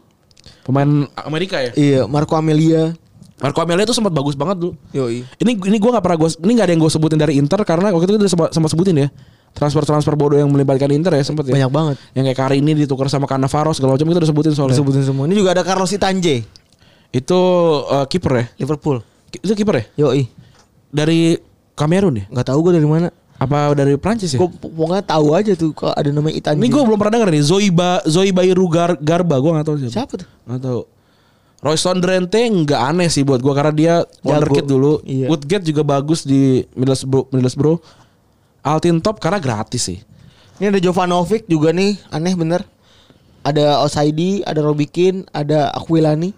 B: pemain Amerika ya
A: Iya, Marco Amelia.
B: Marco Amelia itu sempat bagus banget dulu
A: Yoi.
B: ini ini gue nggak pernah gue ini nggak ada yang gue sebutin dari Inter karena waktu itu kita sempat, sempat sebutin ya transfer transfer bodoh yang melibatkan Inter ya sempat ya
A: Banyak banget.
B: yang kayak kali ini ditukar sama Cannavaro segala macam kita udah sebutin soalnya
A: Sebutin semua. Ini juga ada Carlos Itanje,
B: itu eh, kiper ya
A: Liverpool.
B: Ki- itu kiper ya
A: Yoi.
B: dari Kamerun ya
A: Nggak tahu gue dari mana.
B: apa dari Prancis ya
A: Gue pokoknya tahu aja tuh kalau ada namanya Itanje.
B: ini gue belum pernah denger nih Zoiba Zoibairu Gar- Garba gue nggak tahu siapa
A: siapa tuh?
B: Nggak tahu. Royston Drenthe nggak aneh sih buat gua karena dia wonderkid dulu.
A: Iya.
B: Woodgate juga bagus di Middlesbrough. Middlesbrough. Altin Top karena gratis sih.
A: Ini ada Jovanovic juga nih, aneh bener. Ada Osaidi, ada Robikin, ada Aquilani.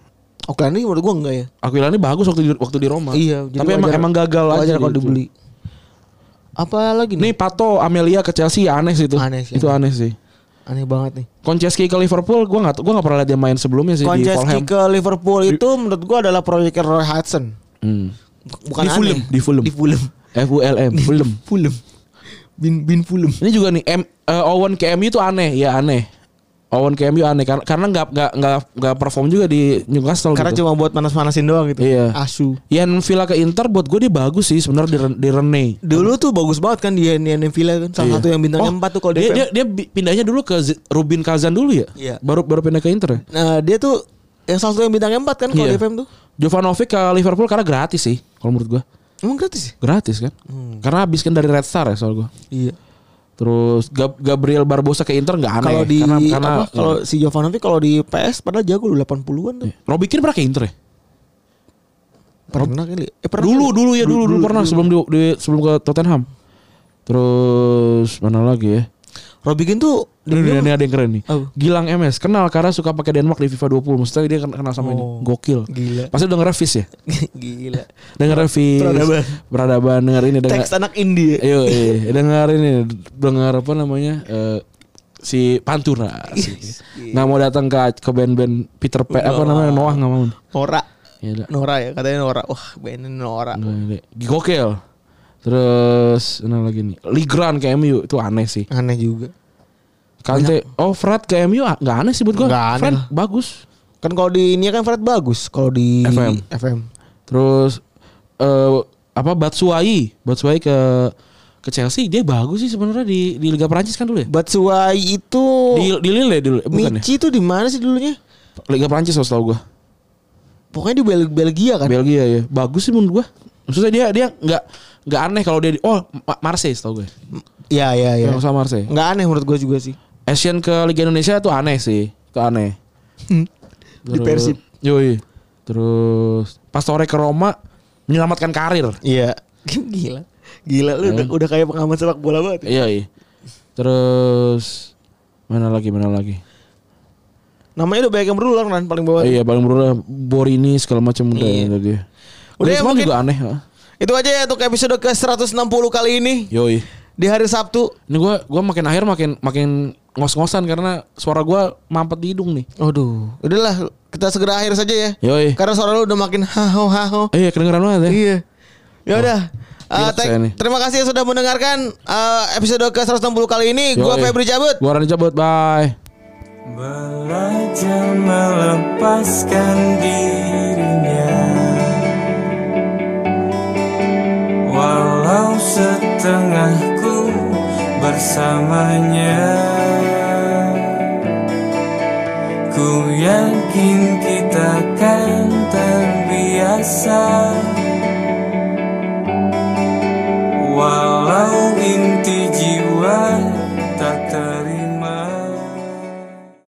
A: Aquilani menurut gue enggak ya.
B: Aquila ini bagus waktu di, waktu di Roma.
A: Iya, jadi
B: Tapi emang
A: wajar-
B: emang gagal
A: wajar kalau
B: gitu.
A: dibeli. Apa lagi
B: Nih
A: nih?
B: Pato Amelia ke Chelsea ya aneh sih itu.
A: Aneh sih,
B: itu aneh, sih.
A: Aneh banget nih.
B: Konceski ke Liverpool gua nggak gua nggak pernah lihat dia main sebelumnya sih di Fulham.
A: Konceski ke Liverpool itu menurut gua adalah proyeknya Roy Hudson.
B: Hmm.
A: Bukan
B: Di Fulham,
A: aneh.
B: di Fulham.
A: Di [LAUGHS] Fulham.
B: F U L M Fulham.
A: Fulham. Bin bin Fulham.
B: Ini juga nih M, eh, Owen ke MU itu aneh, ya aneh. Owen ke MU aneh karena karena nggak nggak nggak nggak perform juga di Newcastle.
F: Karena
B: gitu.
F: cuma buat panas-panasin doang gitu.
B: Iya.
A: Asu.
B: Ian Villa ke Inter buat gue dia bagus sih sebenarnya di, Ren- di Rene.
A: Dulu tuh bagus banget kan dia Nian Villa kan salah
B: Iya.
A: satu yang bintangnya
B: Oh,
A: empat tuh kalau
B: dia,
A: DPM.
B: dia dia bi- pindahnya dulu ke Z- Rubin Kazan dulu ya.
A: Iya.
B: Baru baru pindah ke Inter. ya?
A: Nah, dia tuh yang salah satu yang bintangnya empat kan kalau
B: Iya.
A: DPM tuh.
B: Jovanovic ke Liverpool karena gratis sih kalau menurut gue.
A: Emang gratis ya?
B: Gratis kan?
A: Hmm.
B: Karena habis kan dari Red Star ya soal gue.
A: Iya.
B: Terus Gab- Gabriel Barbosa ke Inter nggak aneh
A: Kalau di
B: karena karena iya.
A: apa, kalau si Jovanovic kalau di PS padahal jago dulu 80-an tuh.
B: Robbie Keane pernah ke Inter ya?
A: Pernah kali. Eh pernah.
B: Dulu
A: kali.
B: dulu ya dulu dulu, pernah sebelum di, di- sebelum ke Tottenham. Terus mana lagi ya?
A: Robikin tuh
B: Ini, ini, ini ada yang keren nih.
A: Apa?
B: Gilang MS kenal karena suka pakai Denmark di FIFA 20. Maksudnya dia ken- kenal sama ini.
A: Oh,
B: Gokil.
A: gila.
B: Pasti denger Fis ya?
A: [LAUGHS] gila.
B: Denger Fis.
A: Peradaban.
B: Peradaban denger ini denger.
A: Teks anak India.
B: Ayo, iya, dengar ini, dengar apa namanya? eh, si Pantura nggak mau
A: iya.
B: datang ke ke band-band Peter Pan apa namanya Noah nggak mau
A: Nora.
B: Iya, dah.
A: Nora ya katanya Nora. Wah, bandnya Nora.
B: Nggak, deh. gokil terus ini lagi nih Ligran ke MU itu aneh sih
A: Aneh juga.
B: Kante oh Fred ke MU ah, nggak aneh sih buat gua
A: Nggak aneh
B: Fred
A: lah.
B: bagus
A: Kan kalau di ini kan Fred bagus kalau di
B: FM.
A: FM.
B: terus eh apa Batsuai Batsuai ke ke Chelsea dia bagus sih sebenarnya di di Liga Prancis kan dulu ya
A: Batsuai itu
B: di di Lille ya dulu eh, bukan ya
A: Oh. Michi tuh di mana sih dulunya?
B: Liga Prancis kalau setahu gua
A: Pokoknya di Bel- Belgia kan.
B: Belgia ya. Bagus sih menurut gua. Maksudnya dia dia nggak nggak aneh kalau dia di, oh Ma- Marseille tau gue.
A: Iya, iya, iya.
B: Yang sama Marseille.
A: Enggak aneh menurut gue juga sih.
B: Asian ke Liga Indonesia tuh aneh sih. Itu aneh.
A: Di Persib.
B: Yoi. Terus Pastore ke Roma menyelamatkan karir.
A: Iya. Gila. Gila lu
B: Hmm.
A: udah, udah kayak pengamat sepak bola banget.
B: Iya,
A: ya.
B: iya. Terus mana lagi mana lagi?
A: Namanya udah banyak yang berulang kan paling
B: Oh,
A: bawah.
B: iya paling berulang Borini segala macam udah
A: Iya.
B: ya, tadi.
A: Udah ya,
B: Griezmann
A: mungkin-
B: juga aneh. ha?
A: Itu aja ya untuk episode ke 160 kali ini
B: Yoi.
A: di hari Sabtu.
B: Ini gua gua makin akhir makin makin ngos-ngosan karena suara gua mampet di hidung nih.
A: Aduh, udahlah kita segera akhir saja ya.
B: Yoi.
A: Karena suara lu udah makin haho haho.
B: Eh, Iya kedengeran banget ya.
A: Iya. Ya udah. Eh,
B: Relax
A: thank-
B: saya nih.
A: terima kasih yang sudah mendengarkan eh, episode ke 160 kali ini. Gua
B: Yoi.
A: Febri cabut.
B: Gua Rani cabut. Bye.
G: Belajar melepaskan dirinya Walau setengahku bersamanya Ku yakin kita kan terbiasa Walau inti